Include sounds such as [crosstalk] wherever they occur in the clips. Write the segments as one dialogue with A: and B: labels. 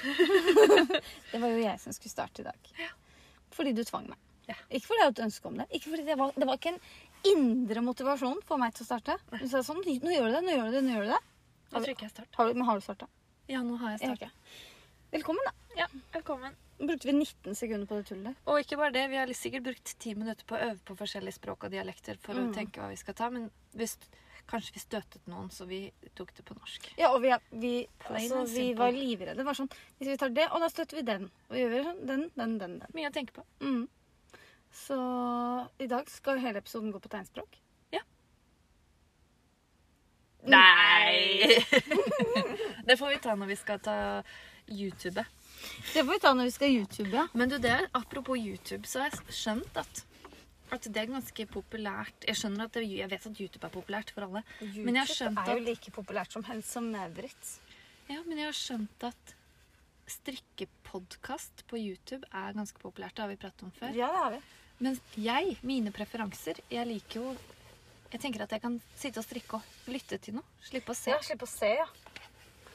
A: [laughs] jeg som skulle starte i dag. Fordi du tvang meg.
B: Ja.
A: Ikke fordi jeg hadde et ønske om det. Ikke fordi det, var, det var ikke en indre motivasjon for meg til å starte. Du sa sånn Nå gjør du det, nå gjør du det, nå gjør du det.
B: Da trykker jeg start.
A: Har du, men har du starta?
B: Ja, nå har jeg
A: Ja,
B: starta.
A: ok. Velkommen, da.
B: Ja, velkommen.
A: Nå brukte vi 19 sekunder på det tullet der.
B: Og ikke bare det, vi har litt sikkert brukt ti minutter på å øve på forskjellige språk og dialekter for
A: Mm.
B: å tenke hva vi skal ta, men vi st- kanskje vi støtet noen, så vi tok det på norsk.
A: Ja, og vi, er- vi,
B: Plain
A: altså,
B: and
A: vi
B: simple.
A: var livredde. Det var sånn Hvis vi tar det, og da støtter vi den. Og vi gjør sånn den, den, den, den.
B: Mye å tenke på.
A: Mm. Så i dag skal jo hele episoden gå på tegnspråk.
B: Ja.
A: Nei!
B: [laughs] det får vi ta når vi skal ta YouTube.
A: Det får vi ta når vi skal YouTube, ja.
B: Men du, det er, apropos YouTube, så har jeg skjønt at, at det er ganske populært. Jeg skjønner at det, jeg vet at YouTube er populært for alle, men jeg har skjønt
A: er jo
B: at,
A: like populært som Hennes og Maurits.
B: ja, men jeg har skjønt at strikkepodkast på YouTube er ganske populært. Det har vi pratet om før.
A: Ja, det har vi.
B: Men jeg, mine preferanser, jeg liker jo Jeg tenker at jeg kan sitte og strikke og lytte til noe. Slippe å se.
A: Ja, Slipp å se, ja.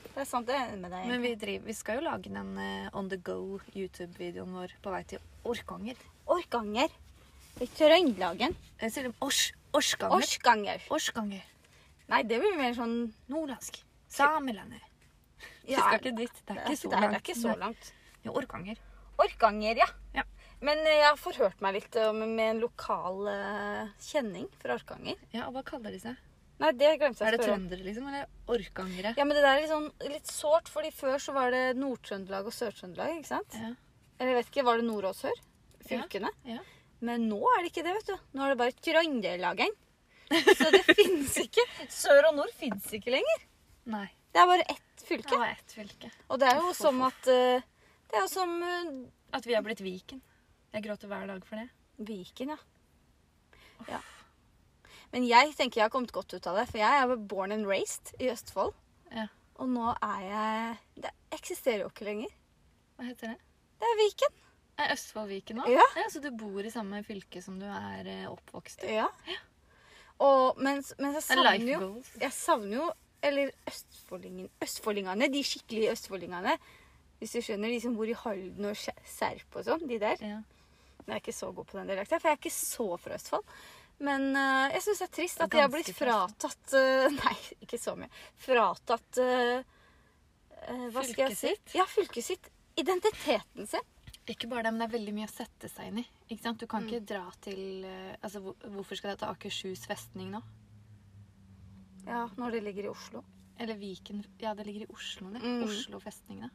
A: Det er sant, det er jeg enig med deg.
B: Men vi, driver, vi skal jo lage den eh, on the go YouTube-videoen vår på vei til Orkanger.
A: Orkanger. I Trøndelagen.
B: Jeg sier det, Ors, Orskanger.
A: Orskanger.
B: Orskanger.
A: Nei, det blir mer sånn
B: Nordlandsk. Samelandet. Vi
A: Ja,
B: skal ikke dit. Det er ikke så
A: det
B: langt.
A: er ikke så langt.
B: Nei. Jo, Orkanger.
A: Orkanger, ja.
B: Ja.
A: Men eh, jeg har forhørt meg litt om- med en lokal eh, kjenning fra Orkanger.
B: Ja, og hva kaller de seg?
A: Nei, det glemte
B: Er
A: jeg å
B: det
A: spørre om.
B: trøndere, liksom? Eller orkangere?
A: Ja, men det der er litt sånn litt sårt, fordi før så var det Nord-Trøndelag og Sør-Trøndelag, ikke sant?
B: Ja.
A: Eller jeg vet ikke, var det nord og sør? Fylkene?
B: ja.
A: Men nå er det ikke det, vet du. Nå er det bare Trøndelagen.
B: [laughs]
A: Så det finnes ikke. Sør og nord finnes ikke lenger.
B: Nei.
A: Det er bare ett
B: Det
A: fylke.
B: var ett fylke.
A: Og det er jo
B: Uff, uff,
A: som
B: uff.
A: at eh, Det er jo som eh,
B: At vi har blitt Viken. Jeg gråter hver dag for det.
A: Viken, ja. ja. Men jeg tenker jeg har kommet godt ut av det, for jeg er jo born and raised i Østfold.
B: Ja.
A: Og nå er jeg Det eksisterer jo ikke lenger.
B: Hva heter det?
A: Det er Viken.
B: Er Østfold-Viken nå?
A: Ja.
B: Så du bor i samme fylke som du er eh, oppvokst i?
A: Ja. Og mens, mens jeg
B: Det er
A: savner
B: life
A: jo
B: goals.
A: Jeg savner jo Eller østfoldingen, østfoldingene. De skikkelige østfoldingene. Hvis du skjønner, de som bor i Halden og Skje- Serp og sånn. De der.
B: Ja.
A: Men jeg er ikke så god på den dialekten, for jeg er ikke så fra Østfold. Men eh, jeg syns det er trist at
B: Ganske
A: jeg har blitt
B: fra
A: fratatt eh, [laughs] Nei, ikke så mye. Fratatt eh, eh, Hva skal jeg
B: Fylket
A: si?
B: sitt?
A: Ja, fylket sitt. Identiteten sin.
B: Ikke bare det, men det er veldig mye å sette seg inn i. Ikke sant? Du kan ikke dra til eh, altså, hvor- Hvorfor skal jeg til Akershus festning nå?
A: Ja, når det ligger i Oslo.
B: Eller Viken Ja, det ligger i Oslo, det.
A: Mm.
B: Oslo festning, da.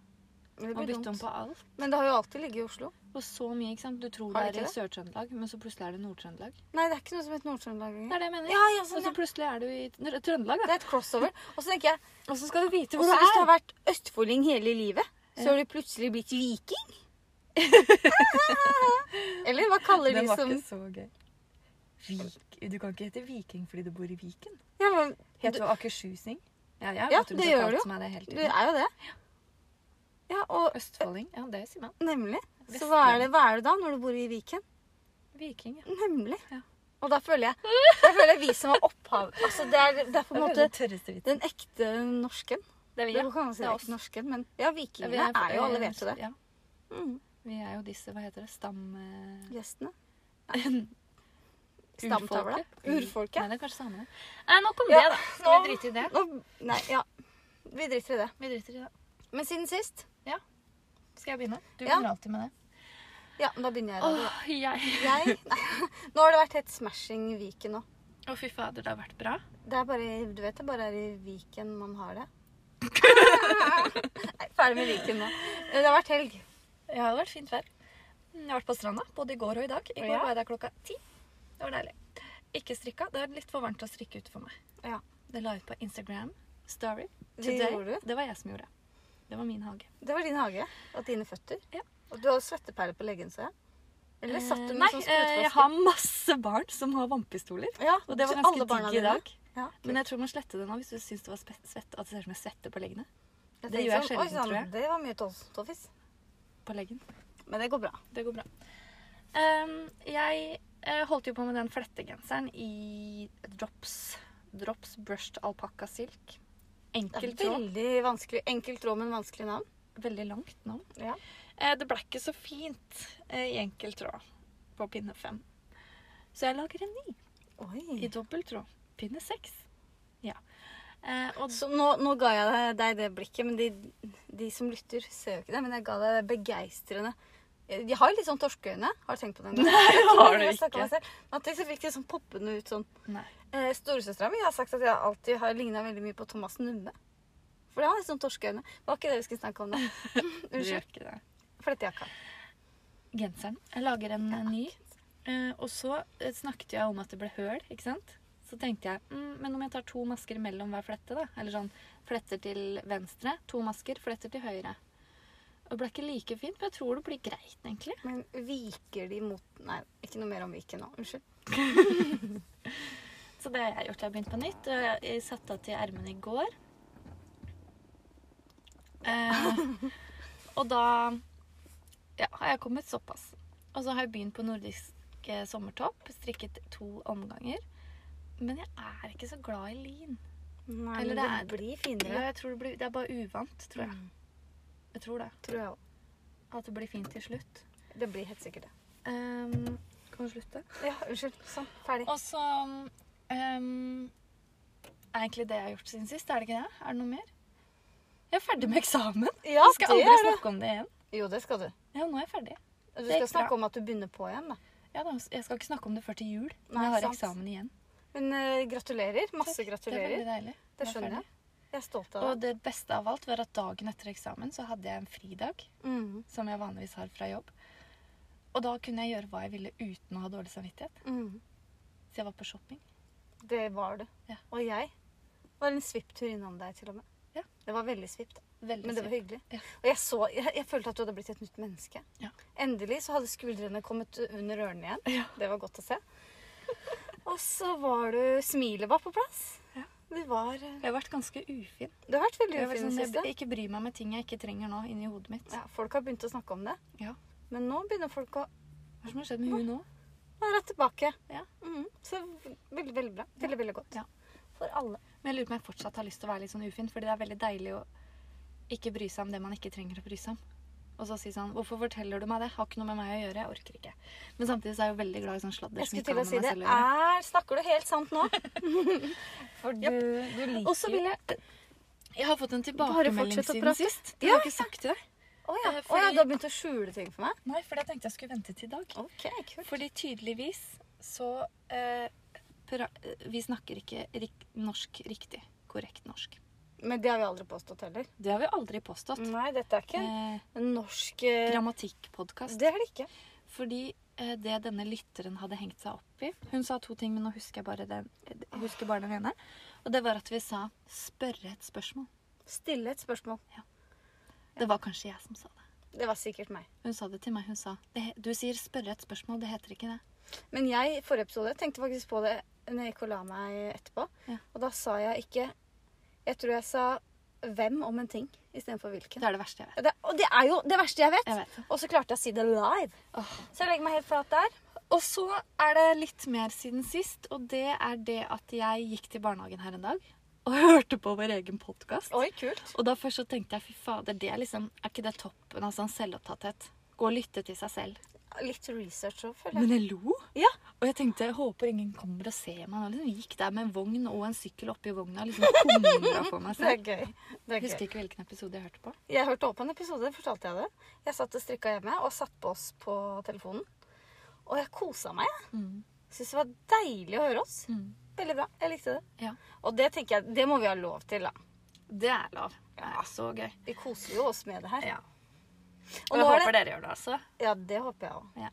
A: Det
B: Man
A: blir
B: bytter om
A: dumt.
B: på alt.
A: Men det har jo alltid ligget i Oslo.
B: Og så mye, ikke sant. Du tror
A: Har
B: det
A: det
B: er i
A: ikke
B: Sør-Trøndelag, men så plutselig er det Nord-Trøndelag.
A: Nei, det er ikke noe som heter Nord-Trøndelag
B: Det
A: engang.
B: er det jeg mener.
A: Ja, ja, sånn,
B: og så
A: ja.
B: plutselig er du i Nor- Trøndelag,
A: Det
B: da.
A: er et crossover. Og så tenker jeg
B: Og så skal du vite
A: Og
B: hvor
A: så hvis du
B: du
A: har
B: er.
A: vært østfolding hele livet, så
B: Ja.
A: har du plutselig blitt
B: [laughs]
A: viking? Eller hva kaller de som
B: så gøy. Vik. Du kan ikke hete viking fordi du bor i Viken.
A: ja, men,
B: Heter du Akershusing? Ja, jeg
A: Ja,
B: vet
A: det
B: du
A: gjør
B: har kalt
A: du.
B: meg det hele
A: Du
B: tiden.
A: er jo det. Ja, og
B: Østfolding? Ja, det sier man.
A: nemlig. Så hva er, det, hva er det da når du bor i Viken?
B: Viking, ja.
A: Nemlig.
B: Ja.
A: Og da føler jeg Da føler jeg vi som har opphav altså det, er, det er på en måte
B: tørreste vitsen.
A: den ekte norsken.
B: Det er
A: Det
B: vi, ja.
A: går ikke an å si
B: det er
A: den
B: oss.
A: ekte norsken, men ja,
B: Ja,
A: vikingene er jo Alle vet jo det.
B: Ja,
A: Mm.
B: vi er jo disse, hva heter det, stam... eh, [laughs]
A: Gjestene. Stamtavla.
B: urfolket.
A: Urfolket.
B: Mm. Nei, det er kanskje samene. Nei, nok om
A: Ja,
B: det, da. Skal
A: nå-
B: vi drite i det?
A: Nå, nei, ja. Vi driter i det.
B: Vi driter i det.
A: Men siden sist
B: Skal jeg begynne? Du
A: Ja.
B: begynner alltid med det.
A: Ja, da begynner jeg. Da,
B: Åh, jeg.
A: Jeg Nei. [laughs] Nå har det vært helt smashing Viken nå.
B: Å, fy fader, det har vært bra.
A: Det er bare, du vet det bare er i Viken man har det. Nei, ferdig med Viken nå. Det har vært helg.
B: Ja, det har vært fint vær. Mm, Jeg har vært på stranda, både i går og i dag. I går
A: Ja.
B: var jeg der klokka ti. Det var deilig. Ikke strikka. Det er litt for varmt å strikke ute for meg.
A: Ja.
B: Det la jeg ut på Instagram story.
A: Det
B: Today.
A: gjorde du?
B: Det var jeg som gjorde det. Det var min hage.
A: Det var din hage og dine føtter.
B: Ja.
A: Og du har svetteperler på leggen, ser jeg. Eller satt du
B: Eh,
A: med
B: Nei,
A: sånn
B: eh, jeg
A: sprutflaske?
B: har masse barn som har vannpistoler.
A: Ja,
B: Og det var
A: så alle
B: ganske
A: barna
B: digg i
A: dine.
B: dag.
A: Ja.
B: Men eh, jeg tror man sletter det nå hvis du syns det var spe- svett, at det ser ut som jeg svetter på leggene.
A: Jeg
B: det
A: tenkte
B: gjør jeg
A: sånn,
B: sjelden,
A: oi, sann,
B: tror jeg.
A: Det var mye tås- tåfis.
B: På leggen.
A: Men det går bra.
B: Det går bra. Ehm, jeg eh, holdt jo på med den flettegenseren i drops. Drops brushed alpakka silk.
A: Det er
B: Enkel tråd.
A: veldig vanskelig. Enkel tråd, men vanskelig navn.
B: Veldig langt navn.
A: Ja.
B: Eh, det ble ikke så fint eh, i enkel tråd på pinne fem. Så jeg lager en ny i
A: Oi.
B: dobbel tråd. Pinne seks. Ja. Eh, og
A: Så nå, nå ga jeg deg- deg det blikket, men de, de som lytter, ser jo ikke det. Men jeg ga deg det begeistrende De har jo litt sånn torskeøyne. Har du tenkt på det? nå?
B: Nei,
A: [laughs]
B: har du
A: Jeg snakket meg
B: ikke.
A: selv. Men At de så fikk det sånn poppende ut sånn.
B: Nei.
A: Eh, Storesøstera mi har sagt at jeg alltid har ligna veldig mye på Thomas Numme. For han har litt sånn torskeøyne. Det var ikke det vi skulle snakke om
B: [laughs]
A: nå.
B: Du
A: Unnskyld.
B: gjør ikke det.
A: Flettejakka.
B: Genseren. Jeg lager en eh, ny. Eh, og så eh, snakket jeg om at det ble høl, ikke sant? Så tenkte jeg, mm, men om jeg tar to masker mellom hver flette da? Eller sånn, fletter til venstre, to masker, fletter til høyre. Og det ble ikke like fint, men jeg tror det blir greit, egentlig.
A: Men viker de mot Nei, ikke noe mer om Viken nå. Unnskyld.
B: Så det har jeg gjort. Jeg har begynt på nytt. Og jeg, jeg satte av til ermene i går. Eh, og da ja, har jeg kommet såpass. Og så har jeg begynt på nordisk eh, sommertopp. Strikket to omganger. Men jeg er ikke så glad i lin.
A: Nei,
B: Eller
A: men
B: det er-
A: blir
B: Ja,
A: finere.
B: jeg tror det, blir, det er bare uvant, tror jeg. Jeg tror det.
A: Tror jeg òg.
B: At det blir fint til slutt.
A: Det blir helt sikkert det.
B: Um, kan du slutte?
A: Ja, unnskyld. Sånn, ferdig.
B: Og så ehm, er egentlig det jeg har gjort siden sist. Er det ikke det? Er det noe mer? Jeg er ferdig med eksamen.
A: Ja,
B: jeg skal aldri snakke om det igjen.
A: Jo, det skal du.
B: Ja, nå er jeg ferdig.
A: Du
B: Det
A: skal
B: gikk
A: snakke
B: bra.
A: om at du begynner på igjen, da.
B: Ja, da, jeg skal ikke snakke om det før til jul.
A: Nei,
B: Når jeg har
A: sant.
B: eksamen igjen.
A: Men eh, gratulerer. Masse
B: Takk. Det er
A: gratulerer.
B: veldig deilig.
A: Det
B: Jeg er
A: skjønner
B: ferdig.
A: jeg. Jeg er stolt av deg.
B: Og det beste av alt var at dagen etter eksamen så hadde jeg en fridag,
A: Mhm,
B: som jeg vanligvis har fra jobb. Og da kunne jeg gjøre hva jeg ville uten å ha dårlig samvittighet.
A: mhm.
B: Så jeg var på shopping.
A: Det var du.
B: Ja.
A: Og jeg var en svipptur innom deg, til og med.
B: Ja.
A: Det var veldig svipt.
B: Veldig
A: Men det var
B: sykt.
A: hyggelig.
B: Ja.
A: Og jeg, så, jeg, jeg følte at du hadde blitt et nytt menneske.
B: Ja.
A: Endelig så hadde skuldrene kommet under ørene igjen.
B: Ja.
A: Det var godt å se. [laughs] Og så var du Smilet var på plass.
B: Ja.
A: Du var eh,
B: Jeg har vært ganske ufin.
A: Du har vært veldig
B: Jeg, har vært
A: ufin i det
B: sånn, jeg,
A: siste.
B: jeg ikke bryr meg med ting jeg ikke trenger nå, inni hodet mitt.
A: Ja, folk har begynt å snakke om det.
B: Ja.
A: Men nå begynner folk å
B: Hva er det som har skjedd med hun nå?
A: være rett tilbake.
B: Ja.
A: Mhm. Så veldig, veldig bra. Veldig, veldig godt.
B: Mm. Ja.
A: For alle.
B: Men jeg lurer på om jeg fortsatt har lyst til å være litt sånn ufin, fordi det er veldig deilig å ikke bry seg om det man ikke trenger å bry seg om. Og så si sånn Hvorfor forteller du meg det? Har ikke noe med meg å gjøre. Jeg orker ikke. Men samtidig så er jeg jo veldig glad i sånn sladder
A: Jeg
B: som
A: skulle
B: ikke
A: til å
B: har
A: si
B: noe med
A: det.
B: meg selv å gjøre.
A: Er, snakker du helt sant
B: [laughs]
A: nå? For du, du liker
B: Og så vil jeg Jeg har fått en tilbakemelding
A: fortsett å
B: siden
A: prate.
B: sist. Det
A: Ja.
B: har jeg ikke sagt til deg.
A: Å ja. Å
B: Eh,
A: ja,
B: fordi-
A: du har begynt å skjule ting for meg?
B: Nei, for jeg tenkte jeg skulle vente til i dag.
A: Ok, kult.
B: Fordi tydeligvis så eh, pra eh, Vi snakker ikke rik norsk riktig. Korrekt norsk.
A: Men det har vi aldri påstått heller.
B: Det har vi aldri påstått.
A: Nei, dette er ikke
B: Eh,
A: en norsk eh,
B: Grammatikkpodkast.
A: Det er det ikke.
B: Fordi eh, det denne lytteren hadde hengt seg opp i Hun sa to ting, men nå husker jeg bare den, jeg husker bare den ene. Og det var at vi sa 'spørre et spørsmål'.
A: Stille et spørsmål.
B: Det var kanskje jeg som sa det.
A: Det var sikkert meg.
B: Hun sa det til meg. Hun sa det, he- 'du sier 'spørre et spørsmål', det heter ikke det.
A: Men jeg i forrige episode tenkte faktisk på det når jeg gikk og la meg etterpå.
B: Ja.
A: Og da sa jeg ikke Jeg tror jeg sa hvem om en ting istedenfor hvilken.
B: Det er det verste jeg vet.
A: Det, og det er jo det verste jeg vet.
B: Jeg vet det.
A: Og så klarte jeg å si det live.
B: Åh.
A: Så jeg legger meg helt flat der.
B: Og så er det litt mer siden sist, og det er det at jeg gikk til barnehagen her en dag og [laughs] hørte på vår egen podkast.
A: Oi, kult.
B: Og da først så tenkte jeg fy fader, det er liksom Er ikke det toppen av sånn selvopptatthet? Gå og lytte til seg selv.
A: Litt research òg, føler jeg.
B: Men jeg lo.
A: Ja.
B: Og jeg tenkte jeg håper ingen kommer og ser meg. Jeg liksom gikk der med en vogn og en sykkel oppi vogna og liksom humra på
A: Det
B: meg [laughs] selv.
A: er gøy. Det er gøy.
B: Jeg husker ikke hvilken episode jeg hørte på.
A: Jeg hørte også på en episode, fortalte jeg det. Jeg satt og strikka hjemme og satt på oss på telefonen. Og jeg kosa meg. jeg. Syns det var deilig å høre oss.
B: Mm.
A: Veldig bra. Jeg likte det.
B: Ja.
A: Og det tenker jeg, det må vi ha lov til, da.
B: Det er lov. Det er så gøy.
A: Vi koser jo oss med det her.
B: Ja.
A: Og
B: Og
A: nå
B: jeg
A: er
B: håper
A: det,
B: dere gjør det, altså.
A: ja, det håper jeg òg.
B: Ja.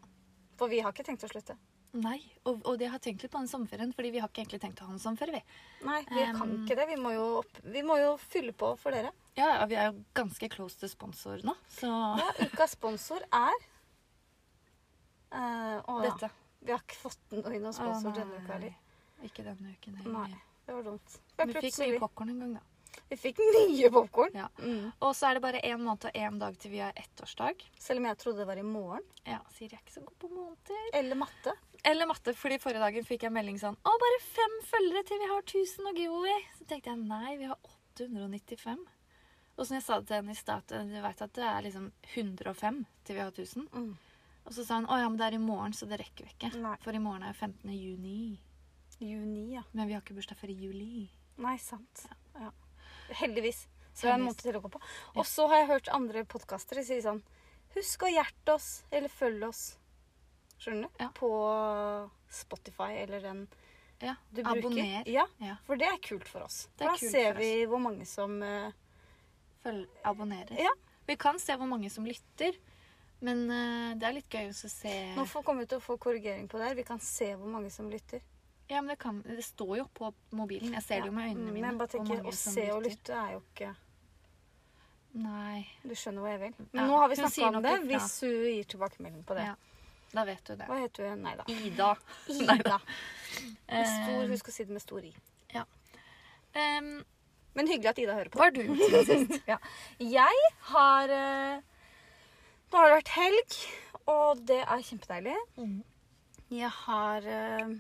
A: For vi har ikke tenkt å slutte.
B: Nei. Og, og det har jeg tenkt litt på den sommerferien, fordi vi har ikke egentlig tenkt å ha en sommerferie, vi.
A: Nei, vi kan
B: Um.
A: ikke det. Vi må, jo opp, vi må jo fylle på for dere.
B: Ja, ja, vi er jo ganske close til sponsor nå, så
A: Ja, ukas sponsor er eh, å, ja.
B: [laughs] dette.
A: Vi har ikke fått noe inn hos
B: Å,
A: sponsor
B: nei,
A: denne uka heller.
B: Ikke denne uken
A: Nei.
B: heller.
A: Det var dumt.
B: Men Vi fikk mye popkorn en gang, da.
A: Vi fikk mye popkorn.
B: Ja.
A: Mm.
B: Og så er det bare én måned og én dag til vi har ettårsdag.
A: Selv om jeg trodde det var i morgen.
B: Ja, Siri er ikke så god på måneder.
A: Eller matte.
B: Eller matte, fordi forrige dagen fikk jeg melding sånn Å, bare fem følgere til vi har 1000 og giveaway. Så tenkte jeg nei, vi har 895. Og som jeg sa det til henne i stad, at du vet at det er liksom 105 til vi har 1000.
A: Mm.
B: Og så sa hun å ja, men det er i morgen, så det rekker vi ikke.
A: Nei.
B: For i morgen er jo 15. juni.
A: Juni, ja.
B: Men vi har ikke bursdag før i juli.
A: Nei, sant. Ja. Heldigvis. Så det er en
B: Heldigvis.
A: måte til å gå på. Og så har jeg hørt andre podkastere si sånn Husk å hjerte oss, eller følge oss. Skjønner du?
B: Ja.
A: På Spotify eller den
B: Ja,
A: du bruker.
B: Abonner.
A: Ja,
B: Ja.
A: for det er kult for oss.
B: Det er
A: da
B: kult
A: ser
B: for oss.
A: vi hvor mange som eh,
B: Følg, abonnerer.
A: Ja.
B: Vi kan se hvor mange som lytter, men eh, det er litt gøy også å se
A: Nå får, kommer vi til å få korrigering på det her. Vi kan se hvor mange som lytter.
B: Ja, men det, kan, det står jo på mobilen. Jeg ser det jo med øynene mine.
A: Men jeg bare
B: hvor
A: tenker, å
B: mange som
A: se og
B: lytter.
A: lytte er jo ikke
B: Nei.
A: Du skjønner hva jeg vil. Men
B: Ja,
A: nå har vi
B: hun sier
A: snakka om
B: nok
A: det,
B: ifra.
A: hvis hun gir tilbakemelding på det.
B: Ja. Da vet du det.
A: Hva heter hun? Nei da.
B: [laughs] Ida.
A: Ida. Med stor,
B: Eh,
A: husk å si det med stor i.
B: em,
A: Men hyggelig at Ida hører på.
B: hva har
A: [laughs]
B: du gjort siden sist?
A: Ja. Jeg har eh, Nå har det vært helg, og det er kjempedeilig. Jeg har eh,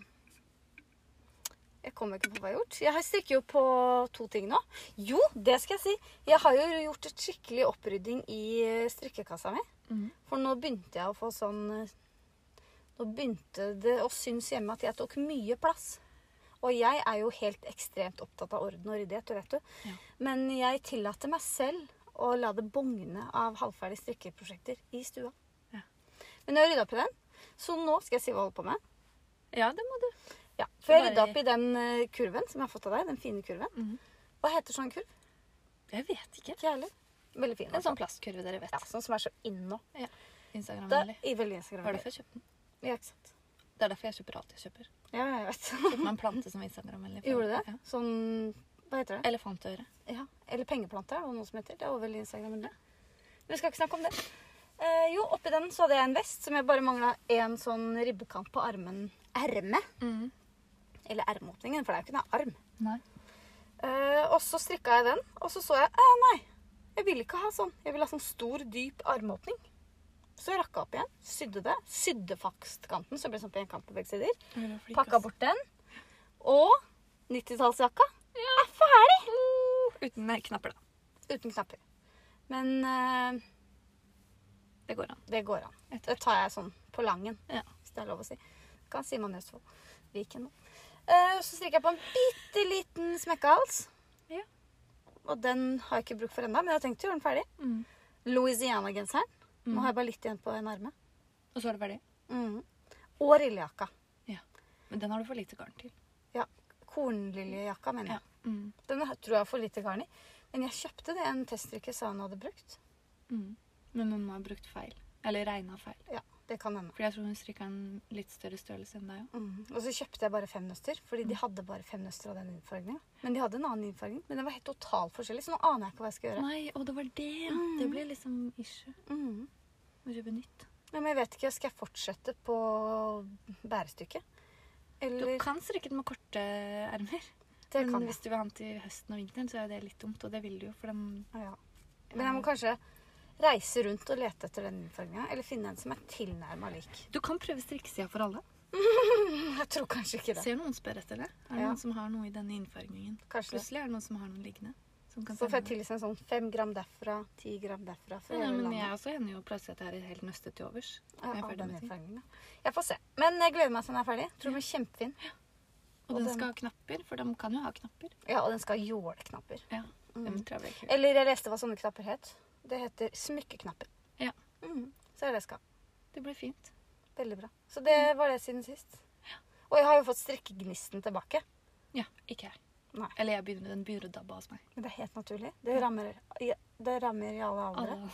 A: Jeg kommer ikke på hva jeg har gjort. Jeg har- strikker jo på to ting nå. Jo, det skal jeg si. Jeg har jo gjort et skikkelig opprydding i eh, strikkekassa mi.
B: Mhm.
A: For nå begynte jeg å få sånn eh, Nå begynte det å synes hjemme at jeg tok mye plass. Og jeg er jo helt ekstremt opptatt av orden og ryddighet, det vet du.
B: Ja.
A: Men jeg tillater meg selv å la det bogne av halvferdige strikkeprosjekter i stua.
B: Ja.
A: Men jeg har rydda opp i den, så nå skal jeg si hva jeg holder på med.
B: Ja, det må du.
A: Ja, For jeg
B: Bare-
A: rydda opp i den eh, kurven som jeg har fått av deg. Den fine kurven.
B: Mhm.
A: Hva heter sånn kurv?
B: Jeg vet ikke.
A: Ikke jeg heller. Veldig fin.
B: En
A: altså.
B: sånn plastkurve dere vet.
A: ja, sånn som er så innå. Det
B: Instagram-vennlig.
A: er veldig
B: Det er
A: Instagram-vennlig.
B: derfor jeg kjøpte den.
A: Ja, ikke sant.
B: Det er derfor jeg kjøper alt jeg kjøper.
A: Ja, jeg vet. [laughs]
B: Kjøpte meg en plante som var Instagram-vennlig. for-
A: Mhm. Gjorde du det?
B: Ja.
A: Sånn Hva heter det?
B: Elefantøre.
A: Ja, eller pengeplante er det noe som heter. Det er også veldig Instagram-vennlig. Men vi skal ikke snakke om det. Eh, jo, oppi den så hadde jeg en vest som jeg bare mangla én sånn ribbekant på armen. Erme. Eller ermeåpningen, for det er jo ikke noe arm.
B: Nei.
A: Eh, og så strikka jeg den, og så så jeg eh, Nei, jeg ville ikke ha sånn. Jeg ville ha sånn stor, dyp armåpning. Så jeg rakka opp igjen, sydde det. Sydde fangstkanten, så det ble sånn på en kant på begge sider. Pakka bort den. Og 90-tallsjakka er ferdig!
B: Uten eh, knapper, da.
A: Uten knapper. Men eh,
B: Det går an.
A: det går an.
B: Jeg tror
A: Det tar jeg sånn på langen,
B: Ja.
A: hvis det er lov å si. Kan si man i Østfold. Viken nå. Eh, så strikker jeg på en bitte liten smekkehals.
B: Ja.
A: Og den har jeg ikke bruk for ennå, men jeg har tenkt å gjøre den ferdig.
B: Mm.
A: Louisiana-genseren.
B: Mm.
A: Nå har jeg bare litt igjen på en arme.
B: Og så er det ferdig.
A: Mhm. Og rillejakka.
B: Men den har du for lite garn til.
A: Ja, kornliljejakka, mener jeg.
B: Mm.
A: Den har- tror jeg har for lite garn i. Men jeg kjøpte det en teststrikker sa hun hadde brukt.
B: Mm. Men hun må ha brukt feil. Eller regna feil.
A: Ja, det kan hende.
B: Fordi jeg tror hun strikka en litt større størrelse enn deg òg.
A: Mhm. Og så kjøpte jeg bare fem nøster, fordi de hadde bare fem nøster av den innfargningen. Mm. Men de hadde en annen innfargning, men den var helt totalt forskjellig, så nå aner jeg ikke hva jeg skal gjøre.
B: Nei, og det var det! ja.
A: Mm.
B: Det ble liksom issue.
A: Mhm.
B: Må kjøpe nytt.
A: Ja, men jeg vet ikke, skal jeg fortsette på bærestykket?
B: Du
A: Eller
B: kan strikke den med korte ermer.
A: Det
B: men
A: kan jeg.
B: hvis du vil ha den til høsten og vinteren, så er jo det litt dumt. Og det vil du jo, for den
A: Ja. Men jeg må kanskje reise rundt og lete etter den innfarginga, eller finne en som er tilnærma lik.
B: Du kan prøve strikkesida for alle.
A: Mm, Jeg tror kanskje ikke det.
B: Ser noen spør etter det? Er det
A: Ja.
B: noen som har noe i denne innfargingen?
A: Kanskje det.
B: Plutselig er det noen som har noe liggende. Som kan
A: Så får jeg
B: sende det.
A: tilsendt sånn fem gram derfra, ti gram derfra. fra
B: Ja,
A: hele
B: men
A: landet.
B: jeg også hender jo plutselig at jeg er helt nøstet til overs.
A: Ja,
B: når jeg er
A: av
B: ferdig
A: den
B: med ting.
A: innfargingen, ja. Jeg får se. Men jeg gleder meg til den er ferdig. Tror den blir kjempefin.
B: Og
A: Og
B: den
A: den-
B: skal ha knapper, for de kan jo ha knapper.
A: Ja, og den skal ha jåleknapper.
B: Ja,
A: Mm.
B: den tror jeg blir kul.
A: Eller jeg leste hva sånne knapper het. Det heter smykkeknapper.
B: Ja.
A: Mm. Så er det jeg skal. ha.
B: Det blir fint.
A: Veldig bra. Så det
B: Mm.
A: var det siden sist. Og jeg har jo fått strikkegnisten tilbake.
B: Ja, ikke jeg.
A: Nei.
B: Eller jeg begynner, den begynner å dabbe hos meg.
A: Men det er helt naturlig. Det rammer, i- det rammer i alle aldre.
B: Alle-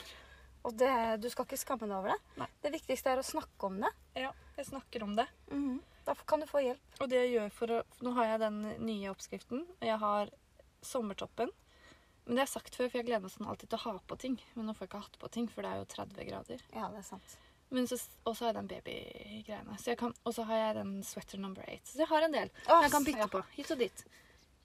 A: Og det, du skal ikke skamme deg over det.
B: Nei.
A: Det viktigste er å snakke om det.
B: Ja, jeg snakker om det. Mm.
A: Da kan du få hjelp.
B: Og det jeg gjør for å Nå har jeg den nye oppskriften. og Jeg har sommertoppen. Men det har jeg sagt før, for jeg gleder meg sånn alltid til å ha på ting. Men nå får jeg ikke hatt på ting, for det er jo 30 grader.
A: Ja, det er sant.
B: Men så, og så har jeg den babygreiene. Så jeg kan- Og så har jeg den sweater number eight. Så jeg har en del.
A: Åh,
B: jeg kan bytte
A: ja.
B: på hit og dit.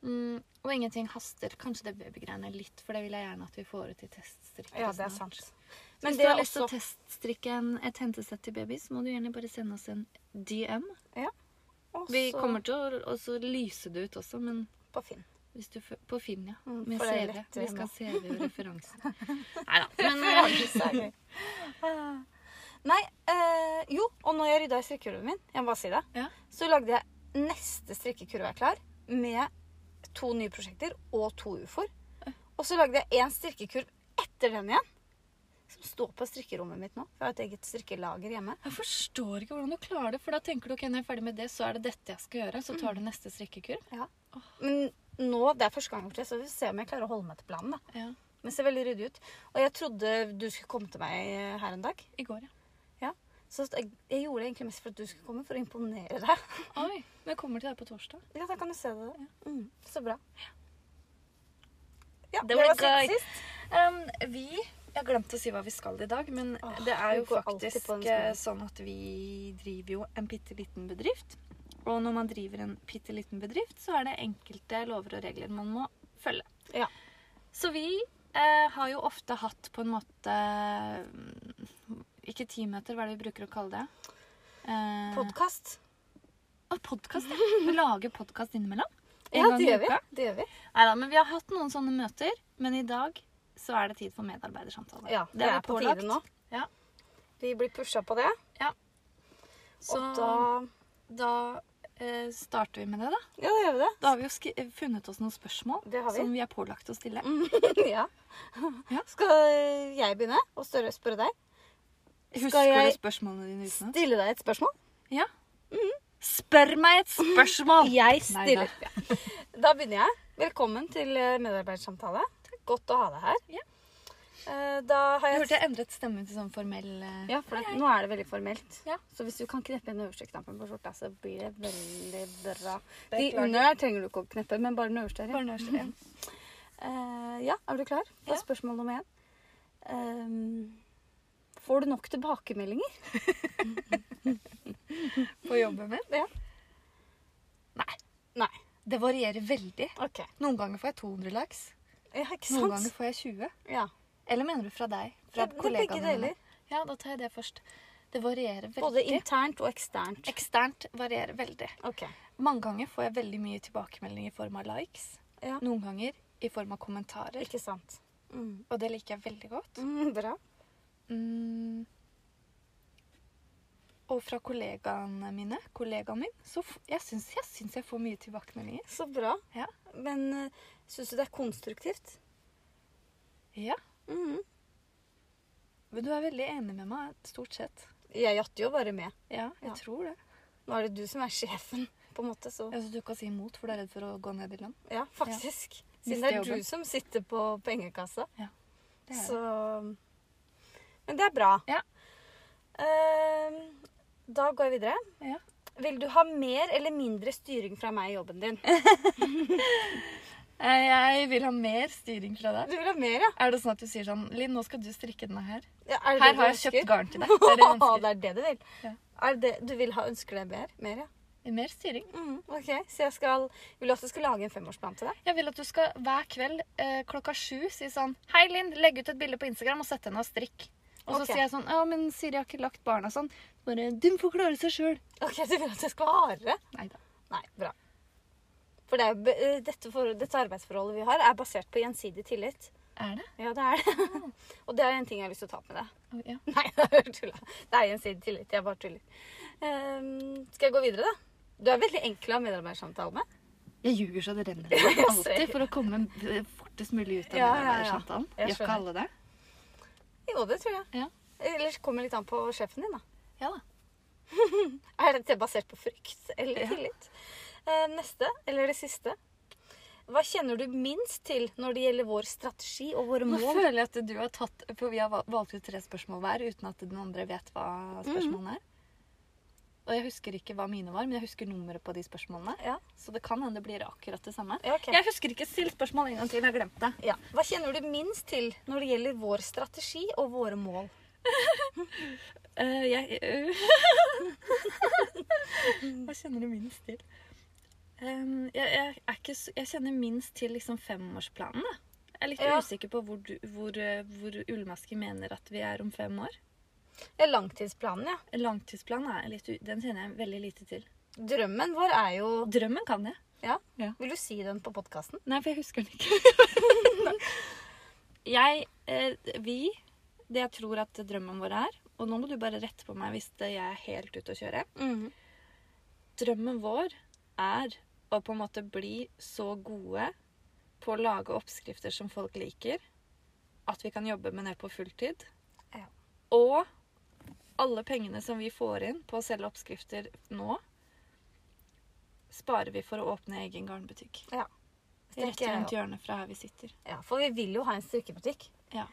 B: Mm, og ingenting haster. Kanskje det babygreiene litt, for det vil jeg gjerne at vi får ut i teststrikken.
A: Ja, det er sant.
B: snart. Hvis
A: Men
B: du
A: det
B: har
A: er
B: lyst til
A: også
B: å teststrikke en- et hentesett til baby, så må du gjerne bare sende oss en DM.
A: også
B: Vi kommer til å Og så lyse det ut også, men
A: på Finn.
B: Hvis du, fø- på Finn, ja.
A: Mm,
B: Med
A: for det er
B: CV.
A: lett,
B: Vi
A: eh,
B: [laughs] skal
A: nå.
B: [laughs] CV-referansen. Nei da. [laughs] Men eh,
A: Nei, [laughs] eh, jo, og når jeg rydda i strikkekurven min, jeg må bare si det,
B: Ja.
A: så lagde jeg neste strikkekurve er klar med to nye prosjekter og to ufoer. Og så lagde jeg én strikkekurv etter den igjen, som står på strikkerommet mitt nå. For jeg har et eget strikkelager hjemme.
B: jeg forstår ikke hvordan du klarer det. For da tenker du ok, når jeg er ferdig med det, så er det dette jeg skal gjøre. Så tar du neste strikkekurv.
A: Men nå, det er første gang jeg har gjort det, så vi får se om jeg klarer å holde meg til planen. da.
B: Ja.
A: Men det ser veldig ryddig ut. Og jeg trodde du skulle komme til meg eh, her en dag.
B: I går, ja.
A: Så jeg, jeg gjorde det egentlig mest for at du skulle komme, for å imponere deg.
B: Oi. Men jeg kommer til deg på torsdag.
A: [laughs] Ja, da kan du se det. Mm, så bra. Ja,
B: Det var litt
A: siden
B: gøy.
A: sist.
B: Um, vi Jeg glemte å si hva vi skal i dag, men
A: Åh,
B: det er
A: vi
B: jo
A: går alltid
B: faktisk
A: på den
B: eh,
A: smellen.
B: sånn at vi driver jo en bitte liten bedrift. Og når man driver en bitte liten bedrift, så er det enkelte lover og regler man må følge.
A: Ja.
B: Så vi eh, har jo ofte hatt på en måte mm, Ikke timøter, hva er det vi bruker å kalle det? Eh,
A: Podkast.
B: og podkast, ja. Vi lager podkast innimellom. En
A: Ja,
B: gang i
A: det gjør, vi.
B: uka.
A: det gjør vi.
B: Neida, men vi har hatt noen sånne møter, men i dag så er det tid for medarbeidersamtale.
A: Ja, det,
B: har
A: er
B: vi
A: på
B: pålagt.
A: tide nå.
B: Ja.
A: Vi blir pusha på det.
B: Så
A: Og da
B: da, eh, starter vi med det, da.
A: Ja, da gjør vi det.
B: Da har vi jo skri funnet oss noen spørsmål
A: Det har vi. Mm.
B: som vi er pålagt å stille.
A: [laughs] ja.
B: Ja.
A: Skal jeg begynne å større- spørre deg?
B: Husker
A: Skal jeg
B: du spørsmålene dine utenat?
A: stille deg et spørsmål?
B: Ja.
A: Mm.
B: Spør meg et spørsmål!
A: Jeg
B: Nei,
A: stiller. Ah, [laughs] Da begynner jeg. Velkommen til eh, medarbeidersamtale. Godt å ha deg her.
B: Ja.
A: Eh, Da har
B: Jeg
A: jeg
B: hørte jeg endret stemmen til sånn formell eh,
A: Ja, for det, nå er det veldig formelt.
B: Ja.
A: Så hvis du kan kneppe inn den øverste knappen på skjorta, så blir det veldig bra. De
B: Beklager.
A: under der trenger du ikke å kneppe, men bare den øverste. her, Ja.
B: barneårsdag.
A: Eh, ja, er du klar? Det
B: Ja.
A: er spørsmål nummer én. Ehm, får du nok tilbakemeldinger?
B: På jobben min.
A: Ja.
B: Nei.
A: Nei.
B: Det varierer veldig.
A: Ok.
B: Noen ganger får jeg 200 laks.
A: Ja, ikke
B: Noen
A: sant?
B: ganger får jeg 20.
A: Ja.
B: Eller mener du fra deg?
A: Det, det
B: Fra
A: er begge
B: kollegaene
A: deler.
B: dine? Ja, da tar jeg det først. Det varierer veldig.
A: Både internt og eksternt.
B: Eksternt varierer veldig.
A: Ok.
B: Mange ganger får jeg veldig mye tilbakemelding i form av likes.
A: Ja.
B: Noen ganger i form av kommentarer.
A: Ikke sant. Mm.
B: Og det liker jeg veldig godt.
A: Mm, bra.
B: Mm. Og fra kollegaene mine, kollegaen min, så f jeg syns jeg, syns jeg får mye tilbakemeldinger.
A: Så bra.
B: Ja.
A: Men syns du det er konstruktivt?
B: Ja,
A: Mm.
B: men du er veldig enig med meg, stort sett.
A: Jeg jatter jo bare med.
B: Ja, jeg
A: Ja.
B: tror det.
A: Nå er det du som er sjefen, på en måte, så
B: Jeg synes du ikke kan si imot, for du er redd for å gå ned i lønn.
A: Ja, faktisk. Siden
B: Miste
A: det er
B: jobben.
A: du som sitter på pengekassa.
B: Det er
A: Så Men det er bra.
B: Ja.
A: Ehm, da går jeg videre.
B: Ja.
A: Vil du ha mer eller mindre styring fra meg i jobben din?
B: Eh, Jeg vil ha mer styring fra deg.
A: Du vil ha mer, ja?
B: Er det sånn at du sier sånn Linn, nå skal du strikke denne her.
A: ja er det
B: Her
A: det du
B: har jeg
A: ønsker?
B: kjøpt
A: [laughs]
B: garn [laughs] til deg. Det er det
A: det er det
B: jeg ønsker.
A: du vil?
B: Ja.
A: Er det, du vil ha ønsker deg mer? mer ja.
B: Mer styring.
A: Mm, ok, Så jeg skal Vil du at jeg skal lage en femårsplan til deg?
B: Jeg vil at du skal hver kveld eh, klokka sju si sånn Hei, Linn, legg ut et bilde på Instagram og sett henne av strikk. Og så
A: Ok.
B: sier jeg sånn Ja, men Siri har ikke lagt barna sånn. Bare Hun får klare seg sjøl.
A: Ok, Du vil at jeg skal ha hardere?
B: Nei da.
A: Nei, bra. For det er, jo be- eh, dette, for, dette arbeidsforholdet vi har, er basert på gjensidig tillit.
B: Er det?
A: Ja, det er det. [laughs] Og det er en ting jeg har lyst til å ta opp med deg. [laughs]
B: Å, Ja.
A: Nei, det er bare tulla. Det er gjensidig tillit. Jeg bare tuller. Ehm, skal jeg gå videre, da? Du er veldig enkel å ha medarbeidersamtale med.
B: Jeg ljuger så det [laughs] renner. Alltid
A: ser.
B: for å komme eh, fortest mulig ut av
A: Ja,
B: ja,
A: ja, ja.
B: samtalen.
A: Jeg
B: Gjør ikke
A: skjønner.
B: alle det?
A: Jo, det tror jeg.
B: Ja.
A: Eller så kommer det litt an på sjefen din, da.
B: Ja da.
A: Er dette basert på frykt eller
B: Ja.
A: tillit? Ehm, neste, eller det siste. Hva kjenner du minst til når det gjelder vår strategi og våre
B: Nå
A: mål?
B: føler jeg at du har tatt For vi har val- valgt ut tre spørsmål hver uten at den andre vet hva spørsmålene er. Og jeg husker ikke hva mine var, men jeg husker nummeret på de spørsmålene.
A: Ja,
B: Så det kan hende det blir akkurat det samme.
A: ja ok.
B: Jeg husker ikke still spørsmål en gang til. Jeg har glemt det.
A: Ja. Hva kjenner du minst til når det gjelder vår strategi og våre mål?
B: Eh, jeg [laughs] eh, Hva kjenner du minst til? Em, jeg, jeg, er ikke, så- jeg kjenner minst til liksom femårsplanen. Da. Jeg er litt
A: Ja.
B: usikker på hvor, du, hvor, eh, hvor Ullmaske mener at vi er om fem år.
A: Ja, langtidsplanen, ja.
B: Langtidsplanen er litt, u- den kjenner jeg veldig lite til.
A: Drømmen vår er jo
B: Drømmen kan jeg.
A: Ja.
B: Ja.
A: Vil du si den på podkasten?
B: Nei, for jeg husker den ikke. jeg eh, Vi Det jeg tror at drømmen vår er Og nå må du bare rette på meg hvis det- jeg er helt ute å kjøre. Drømmen vår er å på en måte bli så gode på å lage oppskrifter som folk liker, at vi kan jobbe med det på fulltid.
A: Ja.
B: Og alle pengene som vi får inn på å selge oppskrifter nå, sparer vi for å åpne egen garnbutikk.
A: Ja. Det
B: Rett
A: tenker jeg
B: rundt
A: også.
B: hjørnet fra her vi sitter.
A: ja. For vi vil jo ha en strikkebutikk.
B: Ja.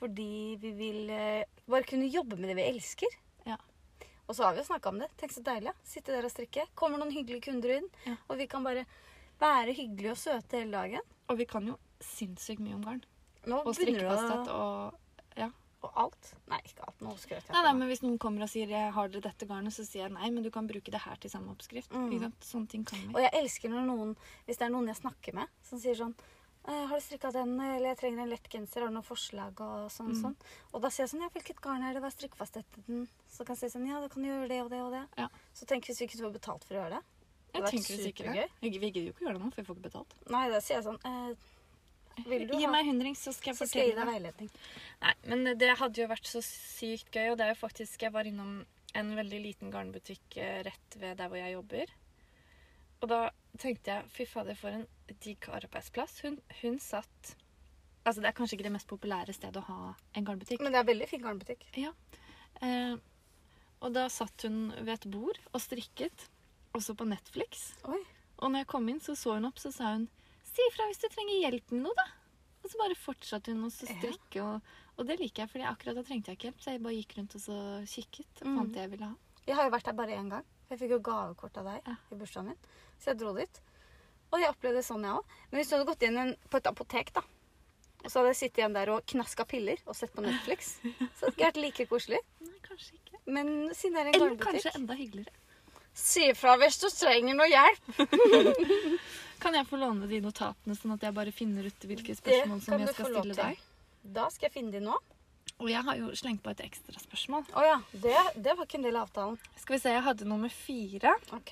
A: Fordi vi vil eh, bare kunne jobbe med det vi elsker.
B: Ja.
A: Og så har vi jo snakka om det. Tenk så deilig. Sitte der og strikke. Kommer noen hyggelige kunder inn,
B: Ja.
A: og vi kan bare være hyggelige og søte hele dagen.
B: Og vi kan jo sinnssykt mye om garn.
A: Nå
B: Og
A: begynner
B: strikkefasthet
A: du å
B: og ja.
A: Og alt. Nei, ikke alt. Nå skrøt jeg. på
B: Nei, nei,
A: meg.
B: men Hvis noen kommer og sier jeg har dere dette garnet, så sier jeg nei, men du kan bruke det her til samme oppskrift.
A: Mm.
B: Ikke sant? Sånne ting kan vi.
A: Og jeg elsker når noen, hvis det er noen jeg snakker med, som sier sånn «Eh, har du strikka den, eller jeg trenger en lett genser, har du noen forslag, og sånn og
B: Mm.
A: sånn. Og da sier jeg sånn, ja, hvilket garn er det, hva er strikkefastheten din? Så kan jeg si sånn, ja, da kan du gjøre det og det og det.
B: Ja.
A: Så tenk hvis vi kunne få betalt for å gjøre det.
B: Jeg
A: hadde vært
B: tenker hvis ikke det. Vi vi gidder jo ikke å gjøre det nå, for vi får ikke betalt.
A: Nei, da sier jeg sånn, eh, vil du
B: Gi
A: ha,
B: meg hundrings, så skal jeg
A: så skal jeg gi deg
B: fortelle deg.
A: veiledning.
B: Nei, men det hadde jo vært så sykt gøy, og det er jo faktisk Jeg var innom en veldig liten garnbutikk eh, rett ved der hvor jeg jobber. Og da tenkte jeg fy fader, for en digg arbeidsplass. Hun, hun satt Altså, det er kanskje ikke det mest populære stedet å ha en garnbutikk.
A: Men det er veldig fin garnbutikk.
B: Eh, og da satt hun ved et bord og strikket, også på Netflix.
A: Oi.
B: Og når jeg kom inn, så så hun opp, så sa hun Si ifra hvis du trenger hjelp med noe, da. Og så bare fortsatte hun å
A: Ja.
B: strikke, og, og det liker jeg, for akkurat da trengte jeg ikke hjelp, så jeg bare gikk rundt og så kikket og
A: Mhm.
B: fant det jeg ville ha.
A: Jeg har jo vært der bare én gang. Jeg fikk jo gavekort av deg
B: Ja.
A: i bursdagen min. Så jeg dro dit. Og jeg opplevde det sånn, jeg òg. Men hvis du hadde gått inn en, på et apotek, da, og så hadde jeg sittet igjen der og knaska piller og sett på Netflix, så hadde det ikke vært like koselig.
B: Nei, kanskje ikke.
A: Men siden det er en
B: Eller kanskje
A: garnbutikk
B: enda hyggeligere.
A: Si ifra hvis du trenger noe hjelp.
B: Kan jeg få låne de notatene, sånn at jeg bare finner ut hvilke
A: Det
B: spørsmål
A: kan
B: som
A: du
B: jeg skal
A: få lov
B: stille
A: til.
B: deg?
A: Da skal jeg finne de nå.
B: Og jeg har jo slengt på et ekstra spørsmål.
A: Å ja. Det, det var ikke en del av avtalen.
B: Skal vi se, jeg hadde nummer fire.
A: OK.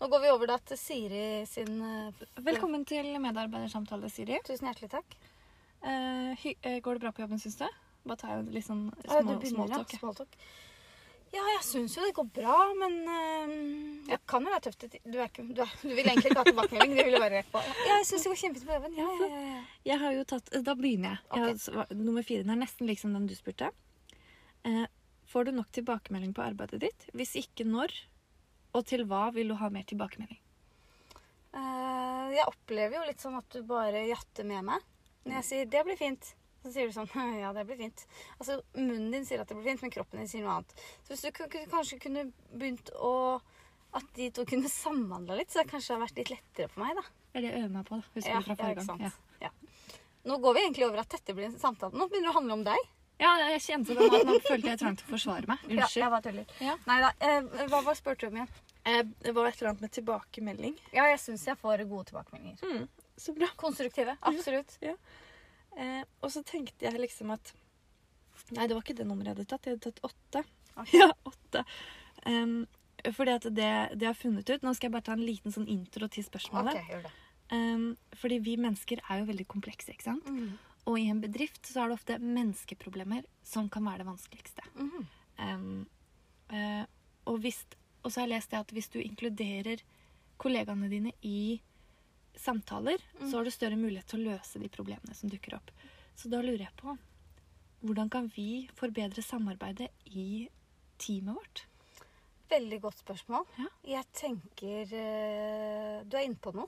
A: Nå går vi over da til Siri sin eh,
B: Velkommen til medarbeidersamtale, Siri.
A: Tusen hjertelig takk.
B: Eh, hy eh, går det bra på jobben, syns du? Bare ta en litt sånn
A: Å, ja,
B: små,
A: du begynner,
B: smalltalk.
A: ja.
B: jeg.
A: Smalltalk. Ja, jeg syns jo det går bra, men øhm, det kan jo være tøft. at- Du, er ikke, du, er, du vil egentlig ikke ha tilbakemelding. Du vil jo bare rett på. Ja, jeg syns det går kjempefint på jobben. Ja, ja, ja, ja.
B: Jeg har jo tatt eh, Da begynner jeg. jeg har, sva- nummer fire den er nesten liksom den du spurte. Eh, får du nok tilbakemelding på arbeidet ditt? Hvis ikke, når? Og til hva vil du ha mer tilbakemelding?
A: Eh, jeg opplever jo litt sånn at du bare jatter med meg. Når jeg sier 'det blir fint', så sier du sånn [laughs] 'ja, det blir fint'. Altså munnen din sier at det blir fint, men kroppen din sier noe annet. Så hvis du kun- kun- kanskje kunne begynt å At de to kunne samhandla litt, så det kanskje har vært litt lettere for meg, da.
B: Det er det jeg øver meg på, da. Husker
A: Ja,
B: du fra
A: ja,
B: forrige
A: ikke sant.
B: gang? Ja.
A: Ja. Nå går vi egentlig over at dette blir en samtale. Nå begynner det å handle om deg.
B: ja, jeg kjente det nå. at Nå følte jeg trang til å forsvare meg. Unnskyld.
A: jeg bare tuller.
B: Ja.
A: Nei da. Eh, hva var spurte du om igjen?
B: Eh, det var et eller annet med tilbakemelding.
A: Ja, jeg syns jeg får gode tilbakemeldinger.
B: Mm. Så bra.
A: Konstruktive. Absolutt.
B: Eh, og så tenkte jeg liksom at Nei, det var ikke det nummeret jeg hadde tatt. Jeg hadde tatt åtte.
A: Ok.
B: [laughs] Ja, åtte. Em, fordi at det, det jeg har funnet ut Nå skal jeg bare ta en liten sånn intro til spørsmålet.
A: Ok, gjør det.
B: Em, fordi vi mennesker er jo veldig komplekse, ikke sant? Og i en bedrift så er det ofte menneskeproblemer som kan være det vanskeligste.
A: Mhm.
B: Em, eh, og, hvis, og så har jeg lest det at hvis du inkluderer kollegaene dine i samtaler, så har du større mulighet til å løse de problemene som dukker opp. Så da lurer jeg på hvordan kan vi forbedre samarbeidet i teamet vårt?
A: Veldig godt spørsmål.
B: Ja.
A: Jeg tenker eh, Du er inne på noe.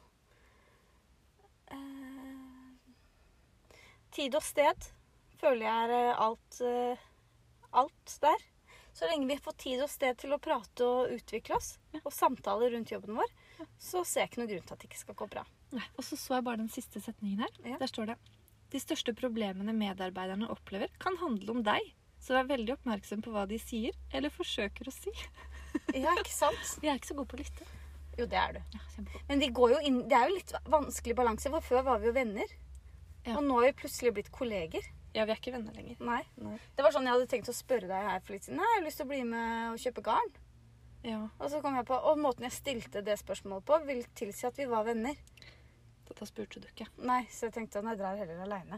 A: Eh, tid og sted føler jeg er eh, alt, eh, alt der. Så lenge vi får tid og sted til å prate og utvikle oss, og samtaler rundt jobben vår, så ser jeg ikke noen grunn til at det ikke skal gå
B: [laughs]
A: bra.
B: Nei. Og så så jeg bare den siste setningen her.
A: Ja.
B: Der står det De største problemene medarbeiderne opplever, kan handle om deg. Så vær veldig oppmerksom på hva de sier, eller forsøker å si.
A: Ja, ikke sant?
B: Jeg er ikke så god på å lytte.
A: Jo, det er du.
B: Ja, kjempegod.
A: Men de går jo inn, det er jo litt vanskelig balanse, for før var vi jo venner.
B: Ja.
A: Og nå er vi plutselig blitt kolleger.
B: ja, vi er ikke venner lenger.
A: Nei.
B: Nei.
A: Det var sånn jeg hadde tenkt å spørre deg her for litt siden. Nei, jeg har lyst til å bli med og kjøpe garn.
B: Ja.
A: Og så kom jeg på, og måten jeg stilte det spørsmålet på, vil tilsi at vi var venner.
B: Da spurte du ikke.
A: Nei, så jeg tenkte at jeg drar heller alene.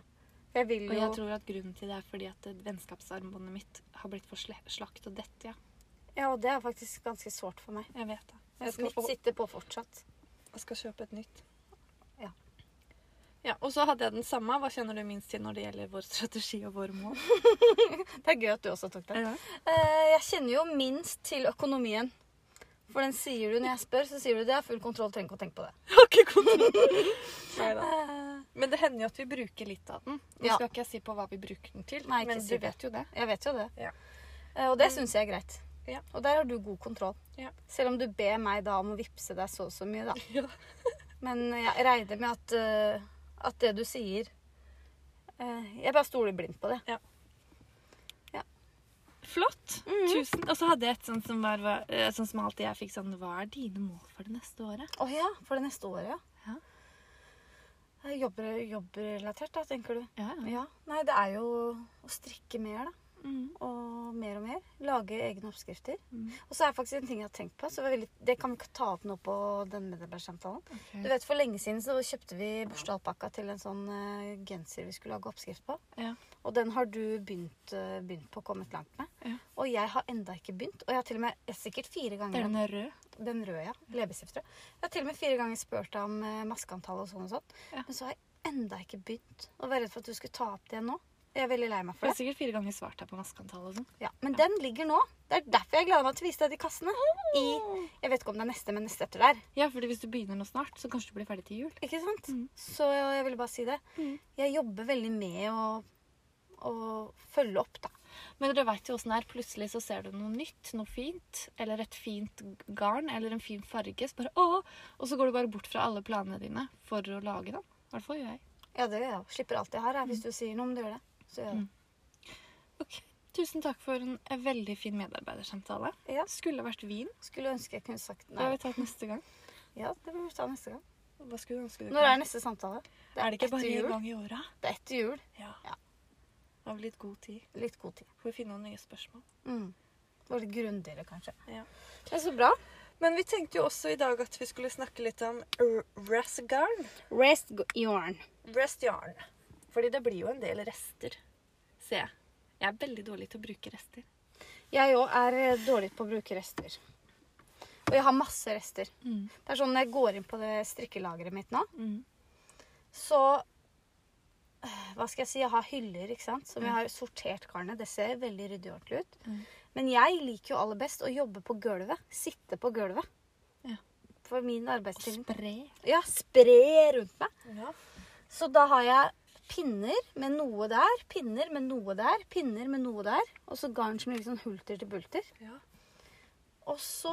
A: For jeg vil
B: Og
A: jo
B: jeg tror at grunnen til det er fordi at eh, vennskapsarmbåndet mitt har blitt for sle- slakt og dette, ja.
A: Ja, og det er faktisk ganske sårt for meg.
B: Jeg vet det.
A: Jeg skal sitte på fortsatt.
B: Jeg skal kjøpe et nytt.
A: Ja.
B: Ja, Og så hadde jeg den samme. Hva kjenner du minst til når det gjelder vår strategi og våre mål?
A: Det er gøy at du også tok den. Eh, Jeg kjenner jo minst til økonomien. For den sier du når jeg spør, så sier du det er full kontroll, trenger ikke å tenke på det.
B: [laughs] Jeg har ikke kontroll. Neida.
A: Eh,
B: Men det hender jo at vi bruker litt av den. Nå
A: Ja.
B: skal ikke jeg si på hva vi bruker den til,
A: Nei, ikke
B: men
A: si
B: du
A: det.
B: vet jo det.
A: Jeg vet jo det.
B: Ja.
A: Eh, Og det syns jeg er greit.
B: Ja.
A: Og der har du god kontroll.
B: Ja.
A: Selv om du ber meg da om å vippse deg så og så mye, da.
B: Ja.
A: Men jeg regner med at, eh, at det du sier eh, Jeg bare stoler blindt på det.
B: Flott. Tusen. Og så hadde jeg et sånt som, var, var- eh, sånn som alltid jeg fikk sånn Hva er dine mål for det neste året?
A: Å ja, for det neste året, ja.
B: Ja.
A: Eh, Jobber, jobbrelatert, da, tenker du.
B: Ja, ja.
A: Ja. Nei, det er jo å strikke mer, da.
B: Mm.
A: Og mer og mer. Lage egne oppskrifter.
B: Mm.
A: Og så er det faktisk en ting jeg har tenkt på. Så det, var veldig, det kan vi ikke ta opp nå på den medarbeidersamtalen.
B: Mm.
A: Du vet, For lenge siden så kjøpte vi bursdagsalpakka til en sånn eh, genser vi skulle lage oppskrift på.
B: Ja.
A: Og den har du begynt, eh, begynt på og kommet langt med.
B: Ja.
A: Og jeg har enda ikke begynt. Og jeg har til og med jeg har sikkert fire
B: Det er
A: ganger
B: den røde.
A: den røde, ja. Leppestiftrød. Jeg har til og med fire ganger spurt deg om eh, maskeantall og sånn og sånn.
B: Ja.
A: Men så har jeg enda ikke begynt. Og var redd for at du skulle ta opp det nå. Jeg er veldig lei meg
B: For
A: for
B: jeg har
A: det.
B: sikkert fire ganger svart her på maskeantall og sånn.
A: Ja, men den ligger nå. Det er derfor jeg gleder meg til å vise deg de kassene. I Jeg vet ikke om det er neste, men neste etter der.
B: sånn. Ja, fordi hvis du begynner nå snart, så kanskje du blir ferdig til jul.
A: Ikke sant?
B: Mm.
A: Så jeg ville bare si det.
B: Mm.
A: Jeg jobber veldig med å, å følge opp, da.
B: Men dere vet jo åssen det er. Plutselig så ser du noe nytt, noe fint, eller et fint garn, eller en fin farge, så bare åh! Og så går du bare bort fra alle planene dine for å lage den. I hvert fall gjør jeg.
A: Ja, det gjør jeg. Slipper alt jeg har. Jeg. Hvis
B: Mm.
A: du sier noe om du gjør det, så gjør jeg det.
B: Ok, Tusen takk for en eh, veldig fin medarbeidersamtale.
A: Ja.
B: Skulle vært vin.
A: Skulle ønske jeg kunne sagt
B: Det har
A: nei.
B: vi tatt neste gang.
A: Ja, det blir vi ta neste gang.
B: Hva skulle du ønske du
A: Når er neste samtale?
B: Det Mm. er det ikke
A: etter
B: bare
A: jul.
B: en gang i åra?
A: Det er etter jul.
B: Ja.
A: Ja.
B: Det har vi litt god tid.
A: Litt god tid.
B: Får vi finne noen nye spørsmål.
A: Mm. Og litt grundigere, kanskje.
C: Ja.
A: Det er så bra.
C: Men vi tenkte jo også i dag at vi skulle snakke litt om r- restgarn.
A: Rest yarn.
C: Restjarn. Fordi det blir jo en del rester.
B: Se, jeg er veldig dårlig til å bruke rester.
A: Jeg òg er eh, dårlig på å bruke rester. Og jeg har masse rester.
B: Mm.
A: Det er sånn Når jeg går inn på det strikkelageret mitt nå, så øh, Hva skal jeg si? Jeg har hyller ikke sant? som jeg har sortert garnet. Det ser veldig ryddig og ordentlig ut.
B: Mm.
A: Men jeg liker jo aller best å jobbe på gulvet. Sitte på gulvet.
B: Ja.
A: For min arbeidstid.
B: Spre.
A: Ja, spre rundt meg.
C: Ja.
A: Så da har jeg pinner med noe der, pinner med noe der, pinner med noe der. Og så garn som ligger sånn hulter til bulter.
C: Ja.
A: Og så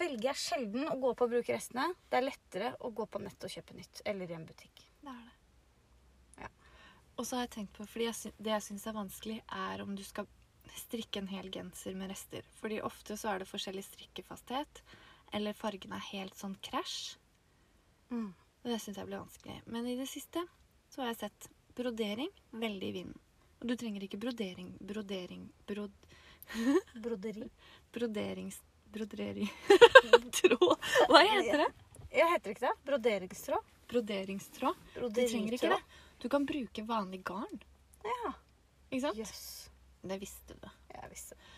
A: velger jeg sjelden å gå på å bruke restene. Det er lettere å gå på nett og kjøpe nytt. Eller i en butikk.
B: Det er det.
A: Ja.
B: Og så har jeg tenkt på, fordi jeg sy det jeg syns er vanskelig, er om du skal strikke en hel genser med rester. Fordi ofte så er det forskjellig strikkefasthet, eller fargen er helt sånn krasj.
A: Mm.
B: Og det syns jeg blir vanskelig. Men i det siste så har jeg sett brodering veldig i vinden. Og du trenger ikke brodering, brodering, brod,
A: Broderi.
B: broderings... Brodering... [laughs] Tråd! Hva heter det?
A: Jeg heter ikke det. Broderingstråd.
B: Broderingstråd. Du trenger ikke det. Du kan bruke vanlig garn.
A: Ja.
B: Ikke sant?
A: Jøss.
B: Det visste du.
A: Jeg visste det.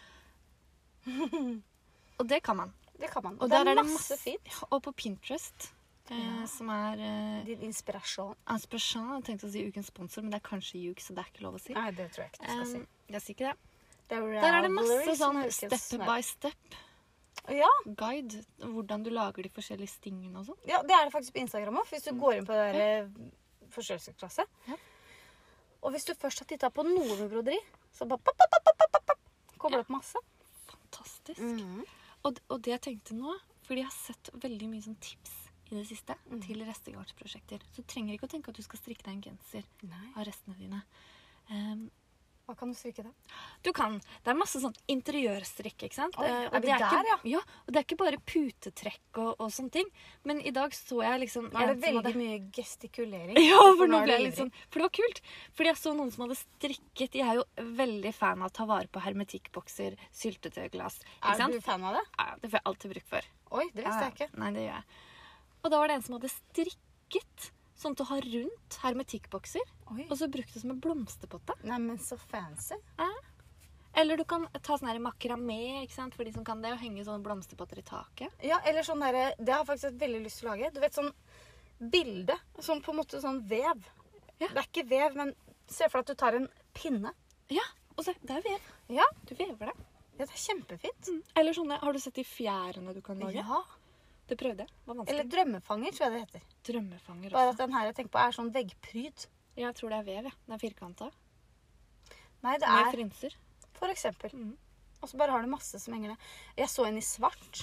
B: Og det kan man.
A: Det kan man.
B: Og
A: Og det
B: der
A: er
B: er det
A: masse
B: masse-
A: fint.
B: Og på Pinterest, eh,
A: Ja.
B: som er eh,
A: Din inspirasjon.
B: Inspiration. Jeg tenkte å si ukens sponsor, men det er kanskje juk, så det er ikke lov å si.
A: Nei, det tror jeg ikke du skal si.
B: Um, jeg sier ikke det.
A: Det er
B: Der er det masse
A: Ravelry som
B: sånn
A: er ukens
B: step
A: snø.
B: by step
A: Ja,
B: guide. Hvordan du lager de forskjellige stingene og sånn.
A: Ja, det er det faktisk på Instagram òg. Hvis du går inn på det der eh, forstørrelsesklasse.
B: Mm. Ja.
A: Og hvis du først har titta på noe med broderi, så bare pop, pop, pop, pop, pop, pop, pop, kommer det opp masse.
B: Fantastisk.
A: Mm.
B: Og, og det jeg tenkte nå, fordi jeg har sett veldig mye sånn tips i det siste
A: Mhm.
B: til restegarnsprosjekter, så du trenger ikke å tenke at du skal strikke deg en genser
A: Nei.
B: av restene dine. Um,
A: Hva kan du stryke da?
B: Du kan. Det er masse sånn interiørstrikk, ikke sant?
A: Oi,
B: Eh,
A: er
B: og
A: vi der,
B: det ikke, ja? og det er ikke bare putetrekk og, og sånne ting. Men i dag så jeg liksom
A: Nå er det
B: en som
A: veldig
B: hadde-
A: mye gestikulering.
B: [laughs] Ja, for nå
A: er det
B: ble jeg litt
A: ivrig.
B: sånn For det var kult. Fordi jeg så noen som hadde strikket Jeg er jo veldig fan av å ta vare på hermetikkbokser, syltetøyglass.
A: Er
B: Ikke sant?
A: du fan av det?
B: Ja, det får jeg alltid bruk for.
A: Oi, det visste jeg ikke.
B: Nei, det gjør jeg. Og da var det en som hadde strikket sånn til å ha rundt hermetikkbokser.
A: Oi.
B: Og så brukt det som en blomsterpotte.
A: Nei, men så fancy.
B: Eller du kan ta sånn her makramé ikke sant? for de som kan det, og henge sånne blomsterpotter i taket.
A: Ja, eller sånn derre Det har jeg faktisk hatt veldig lyst til å lage. Du vet sånn bilde. Sånn på en måte sånn vev.
B: Ja.
A: Det er ikke vev, men se for deg at du tar en pinne.
B: Ja, og så, det er vev.
A: Ja.
B: Du vever det.
A: Ja, det er kjempefint.
B: Mm. Eller sånne, Har du sett de fjærene du kan lage?
A: Ja.
B: Det prøvde jeg. Det var vanskelig.
A: Eller drømmefanger, tror jeg det heter.
B: drømmefanger
A: Bare
B: også.
A: at den her jeg tenker på, er sånn veggpryd.
B: Ja, Jeg tror det er vev, ja. Den er firkanta.
A: Nei, det
B: Med
A: er
B: frynser.
A: for Mm. eksempel.
B: Mhm.
A: Og så bare har du masse som henger ned. Jeg så en i svart,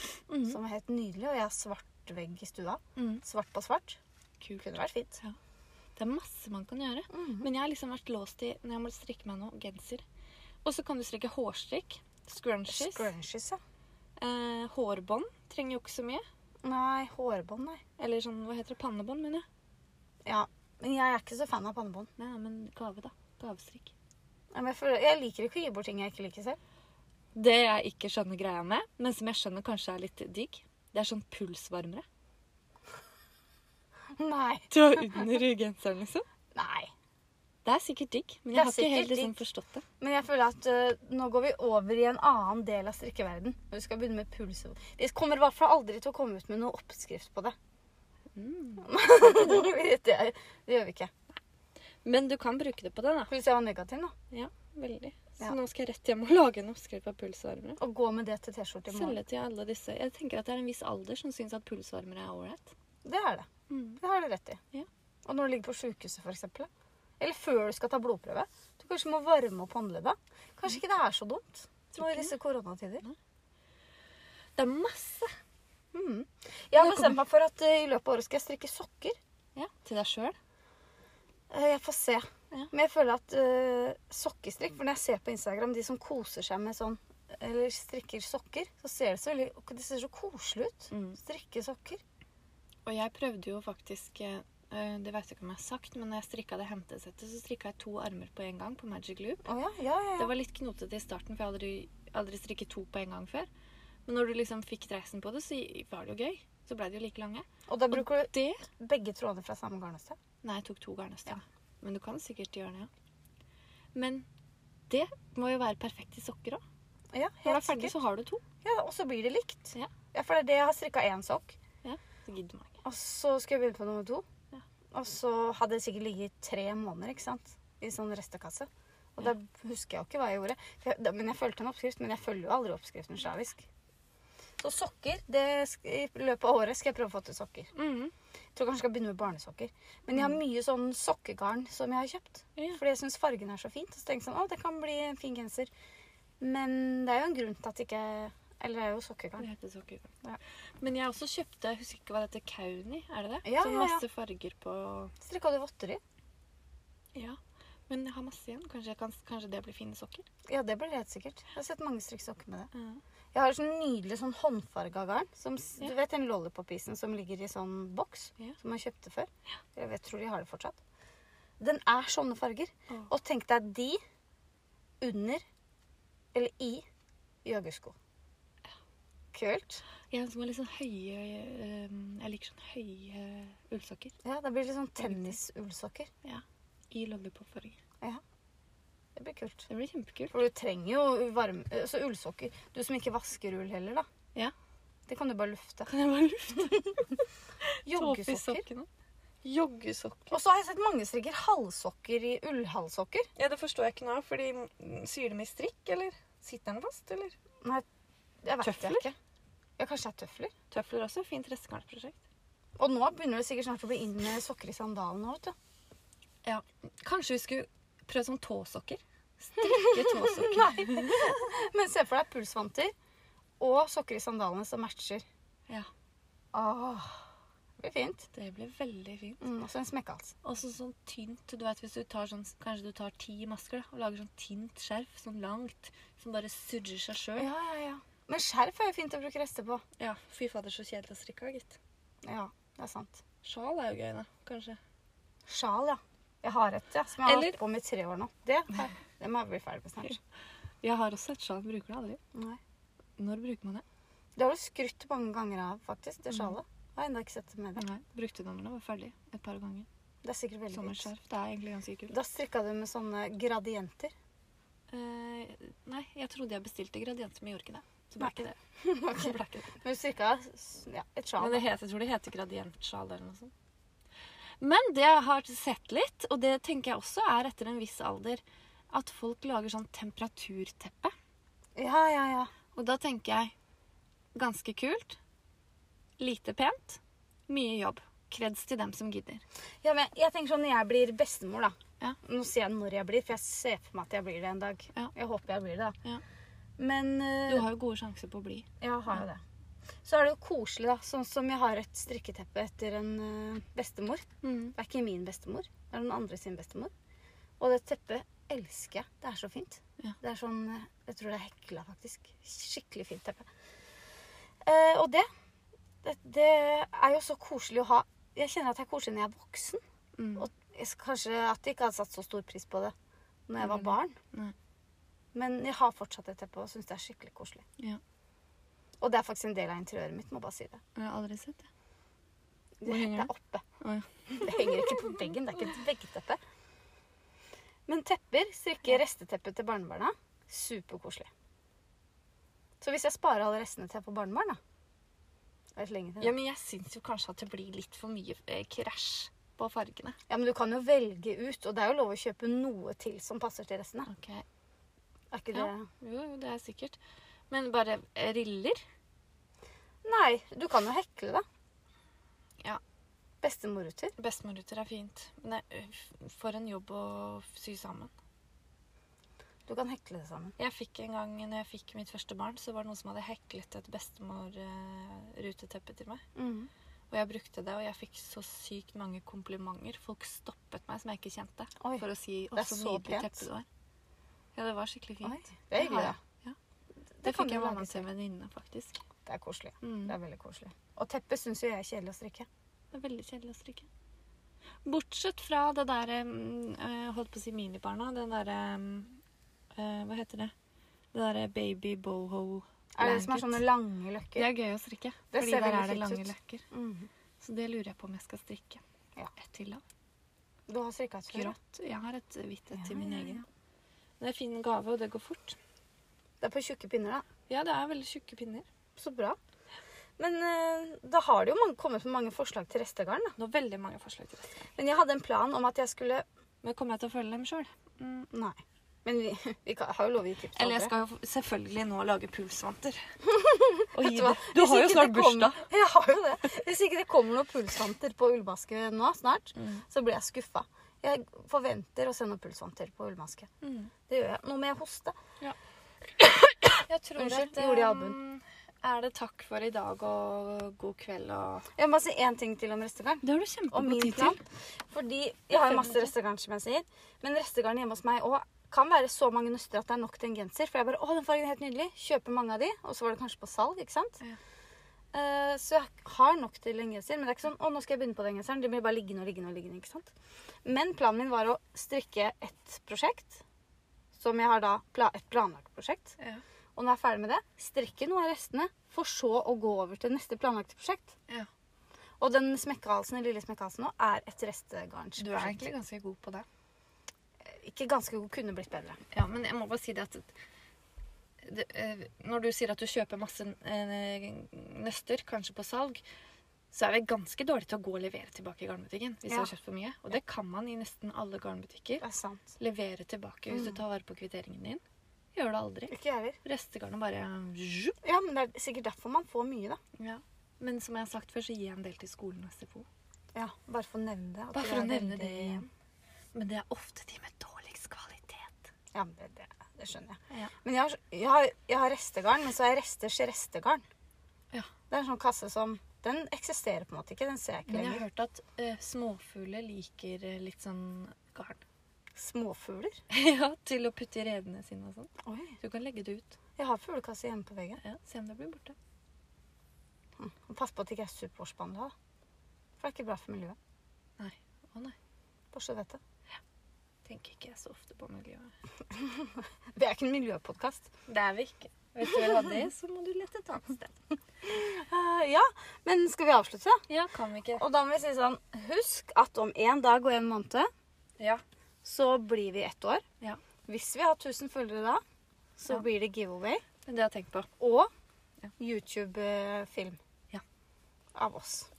A: som var helt nydelig, og jeg har svart vegg i stua.
B: Mhm.
A: Svart på svart.
B: Kult.
A: Kunne vært fint.
B: Det er masse man kan gjøre.
A: Mhm.
B: Men jeg har liksom vært låst i når jeg må strikke meg noe genser. Og så kan du strikke hårstrikk. Scrunchies.
A: Scrunchies, ja.
B: Eh, hårbånd trenger jo ikke så mye.
A: Nei, hårbånd, nei.
B: Eller sånn, hva heter det? Pannebånd, mener jeg.
A: Ja. Men jeg er ikke så fan av pannebånd.
B: Nei, nei, men gave, da. Gavestrikk.
A: Ja, men Jeg, føler, jeg liker ikke å gi bort ting jeg ikke liker selv. [laughs]
B: Det jeg ikke skjønner greia med, men som jeg skjønner kanskje er litt digg, det er sånn pulsvarmere.
A: Nei.
B: [laughs] Til å ha under genseren, liksom.
A: Nei.
B: Det er sikkert digg, men
A: Det er
B: jeg har ikke helt
A: sikkert
B: liksom,
A: digg.
B: forstått det.
A: Men jeg føler at øh, nå går vi over i en annen del av strikkeverden. Når vi skal begynne med puls. Vi kommer i hvert fall aldri til å komme ut med noen oppskrift på det. [laughs]
B: Mm.
A: det, det gjør vi ikke.
B: Men du kan bruke det på det, da.
A: Puls er jo negativ, da.
B: Ja, veldig. Så
A: Ja.
B: nå skal jeg rett hjem og lage en oppskrift på pulsvarmere.
A: Å gå med det til T-skjorte i morgen.
B: Selge til alle disse. Jeg tenker at det er en viss alder som syns at pulsvarmere er ålreit.
A: Det er det.
B: Mm.
A: Det har du rett i.
B: Ja.
A: Og når du ligger på sjukehuset, f.eks. Eller før du skal ta blodprøve. Du kanskje må varme opp håndleddet. Kanskje ikke det er så dumt
B: Tror
A: nå i
B: ikke
A: disse koronatider.
B: Det er masse.
A: Mm. Jeg har
B: Det kommer-
A: bestemt meg for at øh, i løpet av året skal jeg strikke sokker.
B: Ja, til deg sjøl.
A: Eh, Jeg får se.
B: Ja.
A: Men jeg føler at eh, sokkestrikk For når jeg ser på Instagram de som koser seg med sånn eller strikker sokker, så ser det så veldig ok, Det ser så koselig ut.
B: Mm.
A: Strikke sokker.
B: Og jeg prøvde jo faktisk eh, eh, Det vet jeg ikke om jeg har sagt, men når jeg strikka det hentesettet, så strikka jeg to armer på en gang på Magic Loop.
A: Å ja, ja, ja.
B: Det
A: ja.
B: var litt knotete i starten, for jeg hadde aldri, aldri strikket to på en gang før. Men når du liksom fikk dreisen på det, så var det jo gøy. Så blei det jo like lange.
A: Og da bruker
B: Det
A: du begge trådene fra samme garnnøste.
B: Nei, jeg tok to garnnøster. Men du kan sikkert gjøre det, ja. Men det må jo være perfekt i sokker òg.
A: Ja,
B: Når du
A: helt
B: er ferdig,
A: sikkert.
B: så har du to.
A: Ja, og så blir det likt.
B: Ja.
A: for det er det jeg har strikka én sokk,
B: Ja, så gidder man ikke.
A: og så skulle jeg begynne på nummer to.
B: Ja.
A: Og så hadde det sikkert ligget i tre måneder ikke sant? i sånn restekasse. Og
B: Ja.
A: da husker jeg jo ikke hva jeg gjorde. For Jeg, da, men jeg fulgte en oppskrift, men jeg følger jo aldri oppskriften slavisk. Så sokker det, sk- I løpet av året skal jeg prøve å få til sokker. Jeg tror kanskje jeg skal begynne med barnesokker. Men jeg har mye sånn sokkegarn som jeg har kjøpt.
B: Mm. Ja.
A: Fordi jeg syns fargen er så fint. Og så tenker jeg sånn, å, det kan bli en fin genser. Men det er jo en grunn til at det ikke Eller det er jo sokkegarn.
B: Det heter sokker.
A: Ja.
B: Men jeg også kjøpte jeg husker ikke hva det heter, Kauni, er det det?
A: Ja,
B: Sånn
A: ja, ja.
B: masse farger på
A: Strikka du votter i?
B: Ja. Men jeg har masse igjen. Kanskje, jeg kan, kanskje det blir fine sokker?
A: Ja, det blir det helt sikkert. Jeg har sett mange strikke sokker med det. Jeg har sånn nydelig sånn håndfarga garn. Som, s-
B: Ja.
A: Du vet den lollipop-isen som ligger i sånn boks?
B: Ja.
A: Som man kjøpte før? Jeg vet, tror de har det fortsatt. Den er sånne farger.
B: Åh.
A: Og tenk deg de under eller i joggesko. Kult.
B: Jeg som har litt sånn høye eh, Jeg liker sånn høye ullsokker
A: Ja, Det blir litt sånn tennisullsokker.
B: i lollipopfarge.
A: Det blir kult.
B: Det blir kjempekult.
A: For du trenger jo varme Så ullsokker Du som ikke vasker ull heller, da.
B: Ja.
A: Det kan du bare lufte.
B: Kan jeg bare [laughs] lufte tåpe i
A: Joggesokker.
B: sokkene?
C: Joggesokker.
A: Og så har jeg sett mange strikker halssokker i ullhalssokker.
C: Ja, det forstår jeg ikke nå. Fordi mm, Syr de i strikk, eller? Sitter den fast, eller?
A: Nei, jeg vet
B: Tøfler?
A: jeg ikke. Ja, kanskje det er tøfler.
B: Tøfler også. Fint restegarnprosjekt.
A: Og nå begynner det sikkert snart å bli inn med sokker i sandalen òg, vet du.
B: Ja, Kanskje vi skulle prøve sånn tåsokker? Strikke tåsokker.
A: [laughs] Men se for deg pulsvanter og sokker i sandalene som matcher.
B: ja.
A: Åh, Det blir fint.
B: Det blir veldig fint.
A: Mm, og så en smekkehals.
B: Og så sånn tynt du vet, hvis du tar sånn, Kanskje du tar ti masker da, og lager sånn tynt skjerf, sånn langt, som bare surrer seg sjøl.
A: Ja, ja, ja. Men skjerf er jo fint å bruke rester på.
B: Ja, fy fader, så kjedelig å strikke av, gitt.
A: Ja, det er sant.
B: Sjal er jo gøy, da. Kanskje.
A: Sjal, ja. Jeg har et, ja, som jeg har
B: Eller-
A: hatt på med i tre år nå. Det, har- det må jeg bli ferdig med snart.
B: Jeg har også et sjal. Bruker det aldri.
A: [laughs] Nei.
B: Når bruker man det?
A: Det har du skrytt mange ganger av, faktisk, det sjalet. Jeg har ennå ikke sett det med deg.
B: Nei, Brukte den da den var ferdig et par ganger.
A: Det er sikkert veldig fint.
B: Sommerskjerf. Det er egentlig ganske kult.
A: Da strikka du med sånne gradienter.
B: Eh, nei, jeg trodde jeg bestilte gradienter, men jeg gjorde ikke det. Så ble
A: Nei.
B: [laughs] ikke det. Så ble ikke det.
A: Men du strikka s- ja, et sjal.
B: Men det
A: da.
B: heter, jeg tror det heter gradientsjal eller noe sånt. Men det jeg har sett litt, og det tenker jeg også er etter en viss alder, at folk lager sånn temperaturteppe.
A: Ja, ja, ja.
B: Og da tenker jeg ganske kult, lite pent, mye jobb. Kreds til dem som gidder.
A: Ja, men jeg tenker sånn, Når jeg blir bestemor, da
B: Ja.
A: Nå sier jeg når jeg blir, for jeg ser for meg at jeg blir det en dag.
B: Ja.
A: Jeg håper jeg blir det, da.
B: Ja.
A: Men eh,
B: Du har jo gode sjanser på å bli.
A: jeg har jo det. Så er det jo koselig, da. Sånn som jeg har et strikketeppe etter en eh, bestemor.
B: Mm.
A: Det er ikke min bestemor, det er den andre sin bestemor. Og det teppet elsker jeg. Det er så fint.
B: Ja.
A: Det er sånn eh, Jeg tror det er hekla, faktisk. Skikkelig fint teppe. Eh, og det, det Det er jo så koselig å ha. Jeg kjenner at jeg er koselig når jeg er voksen.
B: Mm.
A: Og jeg skal kanskje at jeg ikke hadde satt så stor pris på det når jeg var
B: Nei.
A: barn.
B: Mm. Nei.
A: Men jeg har fortsatt det teppet og syns det er skikkelig koselig.
B: Ja.
A: Og det er faktisk en del av interiøret mitt, må bare si det.
B: Jeg har aldri sett det.
A: Det,
B: Hvor henger
A: det er oppe.
B: Å, ja.
A: Det henger ikke på veggen. Det er ikke et veggteppe. Men tepper, strikke resteteppet til barnebarna, superkoselig. Så hvis jeg sparer alle restene til jeg får barnebarn, da Det er litt lenge til.
B: Ja,
A: det.
B: men jeg syns jo kanskje at det blir litt for mye eh, krasj på fargene.
A: Ja, men du kan jo velge ut, og det er jo lov å kjøpe noe til som passer til restene.
B: Okay.
A: Er ikke det
B: Ja. Jo, jo, det er sikkert. Men bare eh, riller?
A: Nei, du kan jo hekle, da.
B: Ja.
A: Bestemorruter.
B: Bestemorruter er fint. Men det er- øh, for en jobb å sy sammen.
A: Du kan hekle det sammen.
B: Jeg fikk en gang når jeg fikk mitt første barn, så var det noen som hadde heklet et bestemor-ruteteppe til meg. Og jeg brukte det, og jeg fikk så sykt mange komplimenter. Folk stoppet meg som jeg ikke kjente,
A: Oi,
B: for å si
A: det
B: å,
A: er
B: så
A: så
B: nydelig
A: pent.
B: teppe du har. Ja, det var skikkelig
A: Oi,
B: fint.
A: det er hyggelig,
B: har
A: da.
B: jeg. Ja. Det,
A: Det kan
B: fikk
A: du
B: jeg
A: lage
B: mamma til
A: selv.
B: en venninne, faktisk.
A: Det er koselig.
B: Mm.
A: Det er veldig koselig. Og teppe syns jo jeg er kjedelig å strikke.
B: Det er veldig kjedelig å strikke. Bortsett fra det der mm, eh, Holdt på å si minibarna. Den derre Hva heter det? Det derre baby boho.
A: Er det det som er
B: blanket.
A: sånne lange løkker?
B: Det er gøy å strikke.
A: Det
B: fordi
A: ser
B: der
A: veldig
B: er det
A: fint
B: lange
A: ut.
B: løkker.
A: Mhm.
B: Så det lurer jeg på om jeg skal strikke.
A: Ja.
B: Et til, da.
A: Du har strikka et før? ja?
B: Grått. Jeg har et hvitt et
A: Ja,
B: til min
A: ja,
B: egen. Det er fin gave, og det går fort.
A: Det er på tjukke pinner, da.
B: Ja, det er veldig tjukke pinner.
A: Så bra. Men eh, da har det jo mange, kommet med mange forslag til restegarn. da.
B: Nå er veldig mange forslag til dette.
A: Men jeg hadde en plan om at jeg skulle
B: Men kommer jeg til å følge dem sjøl? Mm.
A: Nei. Men vi, [laughs] vi kan, har jo lov å gi tips. til
B: Eller jeg
A: andre.
B: skal jo f- selvfølgelig nå lage [laughs] pulsvanter. Og
A: Vet
B: gi
A: du hva?
B: det. Du
A: Hvis
B: har jo
A: ikke
B: snart
A: det kommer-
B: bursdag.
A: [laughs] Jeg har jo det. Hvis ikke det kommer noen pulsvanter på ullmaske nå snart,
B: Mm.
A: så blir jeg skuffa. Jeg forventer å se noen pulsvanter på ullmaske.
B: Mm.
A: Det gjør jeg. Nå må jeg hoste.
B: Jeg tror
A: Unnskyld,
B: at
A: gjorde jeg
B: eh,
A: albuen?
B: Er det takk for i dag og god kveld og
A: Jeg må bare si én ting til om restegarn.
B: Det har du
A: Og
B: kjempegod
A: min plan. Fordi jeg har jo masse restegarn, som jeg sier. Men restegarn hjemme hos meg òg kan være så mange nøster at det er nok til en genser. For jeg bare 'Å, den fargen er helt nydelig'. Kjøper mange av de. Og så var det kanskje på salg, ikke sant.
B: Ja.
A: Eh, så jeg har nok til en genser. Men det er ikke sånn 'Å, nå skal jeg begynne på den genseren'. Det blir bare liggende og liggende og liggende. ikke sant? Men planen min var å strikke et prosjekt. Som jeg har da pla et planlagt prosjekt.
B: Ja.
A: Og når jeg er ferdig med det, strikke noe av restene. For så å gå over til neste planlagte prosjekt.
B: Ja.
A: Og den smekkehalsen, den lille smekkehalsen nå, er et restegarnsprosjekt.
B: Du er egentlig ganske god på det.
A: Ikke ganske god, kunne blitt bedre.
B: Ja, men jeg må bare si det at det, eh, Når du sier at du kjøper masse eh, nøster, kanskje på salg, så er vi ganske dårlige til å gå og levere tilbake i garnbutikken hvis du
A: Ja.
B: har kjøpt for mye. Og det kan man i nesten alle garnbutikker.
A: Det er sant.
B: Levere tilbake hvis du tar vare på kvitteringen din. Gjør det aldri.
A: Ikke jeg heller.
B: Restegarnet bare zjup.
A: Ja, men det er sikkert derfor man får mye, da.
B: ja. Men som jeg har sagt før, så gir jeg en del til skolen og SFO.
A: Ja, Bare for å nevne det. at
B: Bare for
A: er
B: å nevne
A: veldig-
B: det igjen. Men det er ofte de med dårligst kvalitet.
A: Ja, men det, det, det skjønner jeg.
B: Ja.
A: Men jeg har, jeg, har, jeg har restegarn, men så har jeg resters restegarn.
B: Ja.
A: Det er en sånn kasse som Den eksisterer på en måte ikke. Den ser jeg ikke
B: Men jeg har
A: lenger.
B: hørt at eh, småfugler liker eh, litt sånn garn. [laughs]
A: Småfugler.
B: ja, til å putte i redene sine og sånn.
A: Oi.
B: Så du kan legge det ut.
A: Jeg har fuglekasse hjemme på veggen.
B: Ja, se om det blir borte.
A: Og Pass på at det ikke er superspanda. For det er ikke bra for miljøet.
B: Nei. Å nei.
A: Bare så du vet det.
B: Tenker ikke jeg så ofte på miljøet.
A: Vi er ikke en miljøpodkast.
B: Det er vi ikke. Hvis du vil ha det, så må du lette et annet sted.
A: Eh, ja, men skal vi avslutte?
B: Ja, kan vi ikke.
A: Og da må vi si sånn Husk at om én dag og en måned
B: Ja.
A: så blir vi ett år.
B: Ja.
A: Hvis vi har 1000 følgere da, så
B: Ja.
A: blir det giveaway
B: Det har jeg tenkt på.
A: og
B: Ja.
A: YouTube-film
B: Ja.
A: av oss.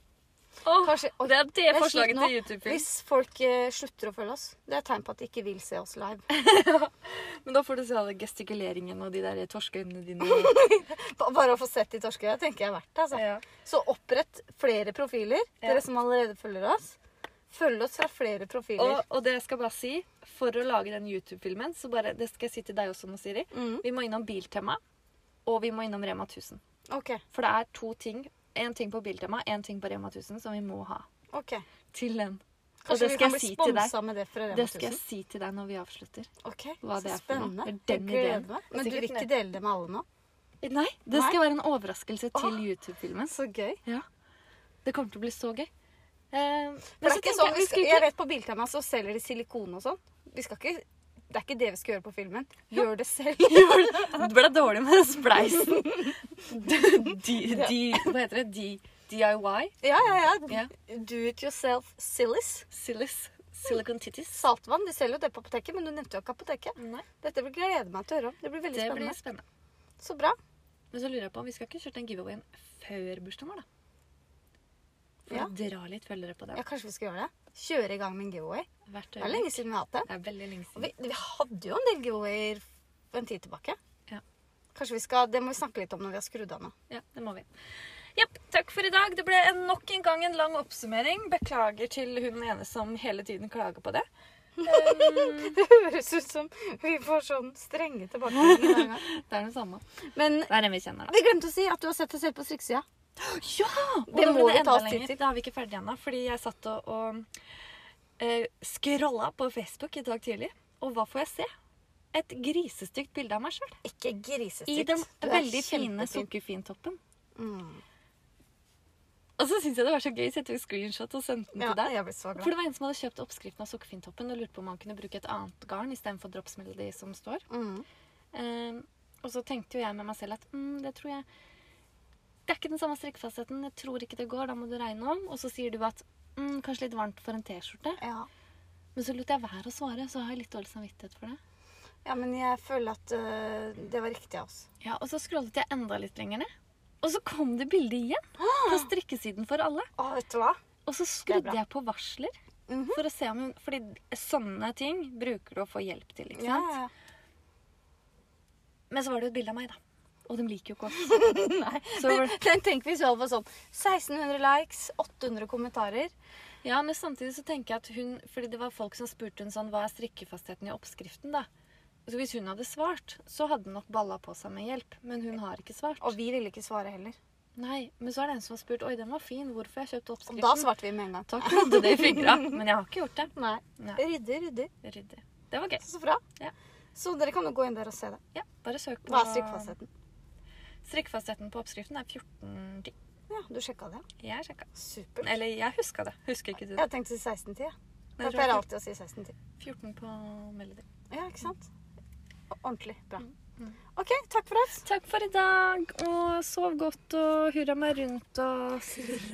B: Åh,
A: Kanskje- Oi,
B: det er det
A: er
B: forslaget
A: sliten
B: til
A: nå.
B: YouTube-film.
A: Hvis folk eh, slutter å følge oss, det er et tegn på at de ikke vil se oss live. [laughs]
B: Men da får du se alle gestikuleringen og de der torskeøynene dine.
A: Ba- Bare å få sett de torskene, tenker jeg er verdt det. Altså.
B: [laughs] ja.
A: Så opprett flere profiler,
B: Ja.
A: dere som allerede følger oss. Følg oss fra flere profiler.
B: og, og det jeg skal bare si, for å lage den YouTube-filmen, så bare, det skal jeg si til deg også nå, Siri,
A: Mm.
B: vi må innom Biltema, og vi må innom Rema 1000.
A: Ok,
B: For det er to ting, en ting på Biltema, en ting på Rema 1000, som vi må ha
A: ok.
B: til den. Og
A: Kanskje
B: det
A: vi
B: skal
A: kan
B: jeg
A: bli
B: si til deg.
A: sponsa med det fra Rema
B: Det skal jeg
A: 1000.
B: si til deg når vi avslutter.
A: Ok,
B: hva det
A: så
B: er for noe.
A: spennende.
B: Det er den
A: Jeg gleder
B: ideen.
A: meg. Men du vil
B: Sikkert
A: ikke dele det med alle nå?
B: Nei, det
A: Nei.
B: skal være en overraskelse til
A: Åh.
B: YouTube-filmen.
A: Så gøy.
B: Ja. Det kommer til å bli så gøy. Eh,
A: For
B: men
A: det
B: så
A: er ikke
B: tenker
A: sånn,
B: jeg,
A: vi
B: vi
A: skal,
B: skulle
A: jeg [laughs]
B: ikke
A: vet på Biltema så selger de silikone og sånn. Vi skal ikke, det er ikke det vi skal gjøre på filmen. Gjør det selv. [laughs]
B: Det ble dårlig med den [laughs] spleisen. Di- di- Hva heter det? Di- DIY?
A: Ja, ja, ja.
B: Ja.
A: Do it yourself sillies.
B: Silis? Silicon titties?
A: Saltvann, de selger jo det på apoteket, men du nevnte jo ikke apoteket.
B: Nei,
A: Dette vil glede jeg meg til å høre om. Det blir veldig
B: det blir
A: spennende.
B: spennende.
A: Så bra.
B: Men så lurer jeg på om vi skal ikke kjøre den giveawayen før bursdagen vår, da? For
A: Ja.
B: å dra litt følgere på den.
A: Ja, kanskje vi skal gjøre det. Kjøre i gang med en giveaway.
B: Hvert
A: Det er
B: øyeblikk.
A: lenge siden vi har hatt det.
B: Det er veldig lenge
A: Og
B: siden.
A: Vi, vi hadde jo en del giveawayer for en tid tilbake.
B: Ja.
A: Kanskje vi skal, Det må vi snakke litt om når vi har skrudd av nå. [laughs]
B: Ja, det må vi. Jepp, takk for i dag. Det ble en, nok en gang en lang oppsummering. Beklager til hun ene som hele tiden klager på det. Um,
A: Det høres ut som vi får sånn strenge tilbakemeldinger hver gang.
B: det er den samme.
A: [laughs] Men
B: Det er den vi kjenner, da.
A: vi glemte å si at du har sett deg selv på strikkesida.
B: Ja!
A: Det må vi ta oss tid til.
B: Det er vi ikke ferdig ennå, fordi jeg satt og, og eh, scrolla på Facebook i dag tidlig. Og hva får jeg se? Et grisestygt bilde av meg sjøl.
A: Ikke
B: I
A: grisestygt.
B: den
A: Du er
B: veldig fine
A: kjempefin.
B: sukkerfintoppen.
A: Mm.
B: Og så syns jeg det var så gøy, så jeg tok screenshot og sendte den
A: Ja,
B: til deg.
A: jeg ble så
B: For
A: glad.
B: det var en som hadde kjøpt oppskriften av sukkerfintoppen og lurte på om han kunne bruke et annet garn istedenfor Drops Melody som står.
A: Mm.
B: Ehm, og så tenkte jo jeg med meg selv at mm, det tror jeg Det er ikke den samme strikkefastheten. Jeg tror ikke det går. Da må du regne om. Og så sier du at mm, kanskje litt varmt for en T-skjorte.
A: Ja.
B: Men så lot jeg være å svare, så har jeg litt dårlig samvittighet for det.
A: ja, men jeg føler at øh, det var riktig av oss.
B: Ja, Og så scrollet jeg enda litt lenger ned. Og så kom det bilde igjen
A: Ah!
B: på strikkesiden for alle.
A: Å, vet du hva?
B: Og så
A: Det er bra.
B: skrudde jeg på varsler.
A: Mhm.
B: For å se om hun Fordi sånne ting bruker du å få hjelp til. ikke sant?
A: Ja, ja, ja.
B: Men så var det jo et bilde av meg, da. Og de liker jo ikke oss.
A: [laughs]
B: Så var det-
A: Men tenk hvis vi hadde fått sånn 1600 likes, 800 kommentarer.
B: ja, men samtidig så tenker jeg at hun Fordi det var folk som spurte hun sånn Hva er strikkefastheten i oppskriften, da? Så hvis hun hadde svart, så hadde hun nok balla på seg med hjelp. Men hun har ikke svart.
A: Og vi ville ikke svare heller.
B: Nei, Men så er det en som har spurt Oi, den var fin. Hvorfor har jeg kjøpt
A: Og
B: oppskriften?
A: da svarte vi med en gang.
B: Da klodde det i fingra. Men jeg har ikke gjort det.
A: Nei.
B: Nei,
A: Ryddig, ryddig.
B: Ryddig. Det var gøy.
A: Så bra.
B: Ja.
A: Så dere kan jo gå inn der og se det.
B: Ja, bare søk på
A: Hva er strikkefastheten?
B: Strikkefastheten på oppskriften er 14 10.
A: Ja, du sjekka det? ja.
B: Jeg sjekka.
A: Supert.
B: Eller jeg huska det. Husker ikke du
A: Jeg
B: det?
A: har tenkt å si 1610. jeg.
B: Nei,
A: Jeg
B: jeg tror
A: pleier
B: det er
A: alltid å si 1610.
B: 14 på Melody.
A: Ja, ikke sant? O- Ordentlig bra.
B: mm.
A: OK, takk for oss.
B: Takk for i dag, og sov godt og hurra meg rundt og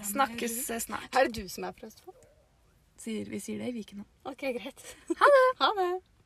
B: snakkes snart.
A: Er det du som er fra Østfold?
B: Sier, vi sier det i Viken nå. [laughs]
A: OK, greit. Ha det.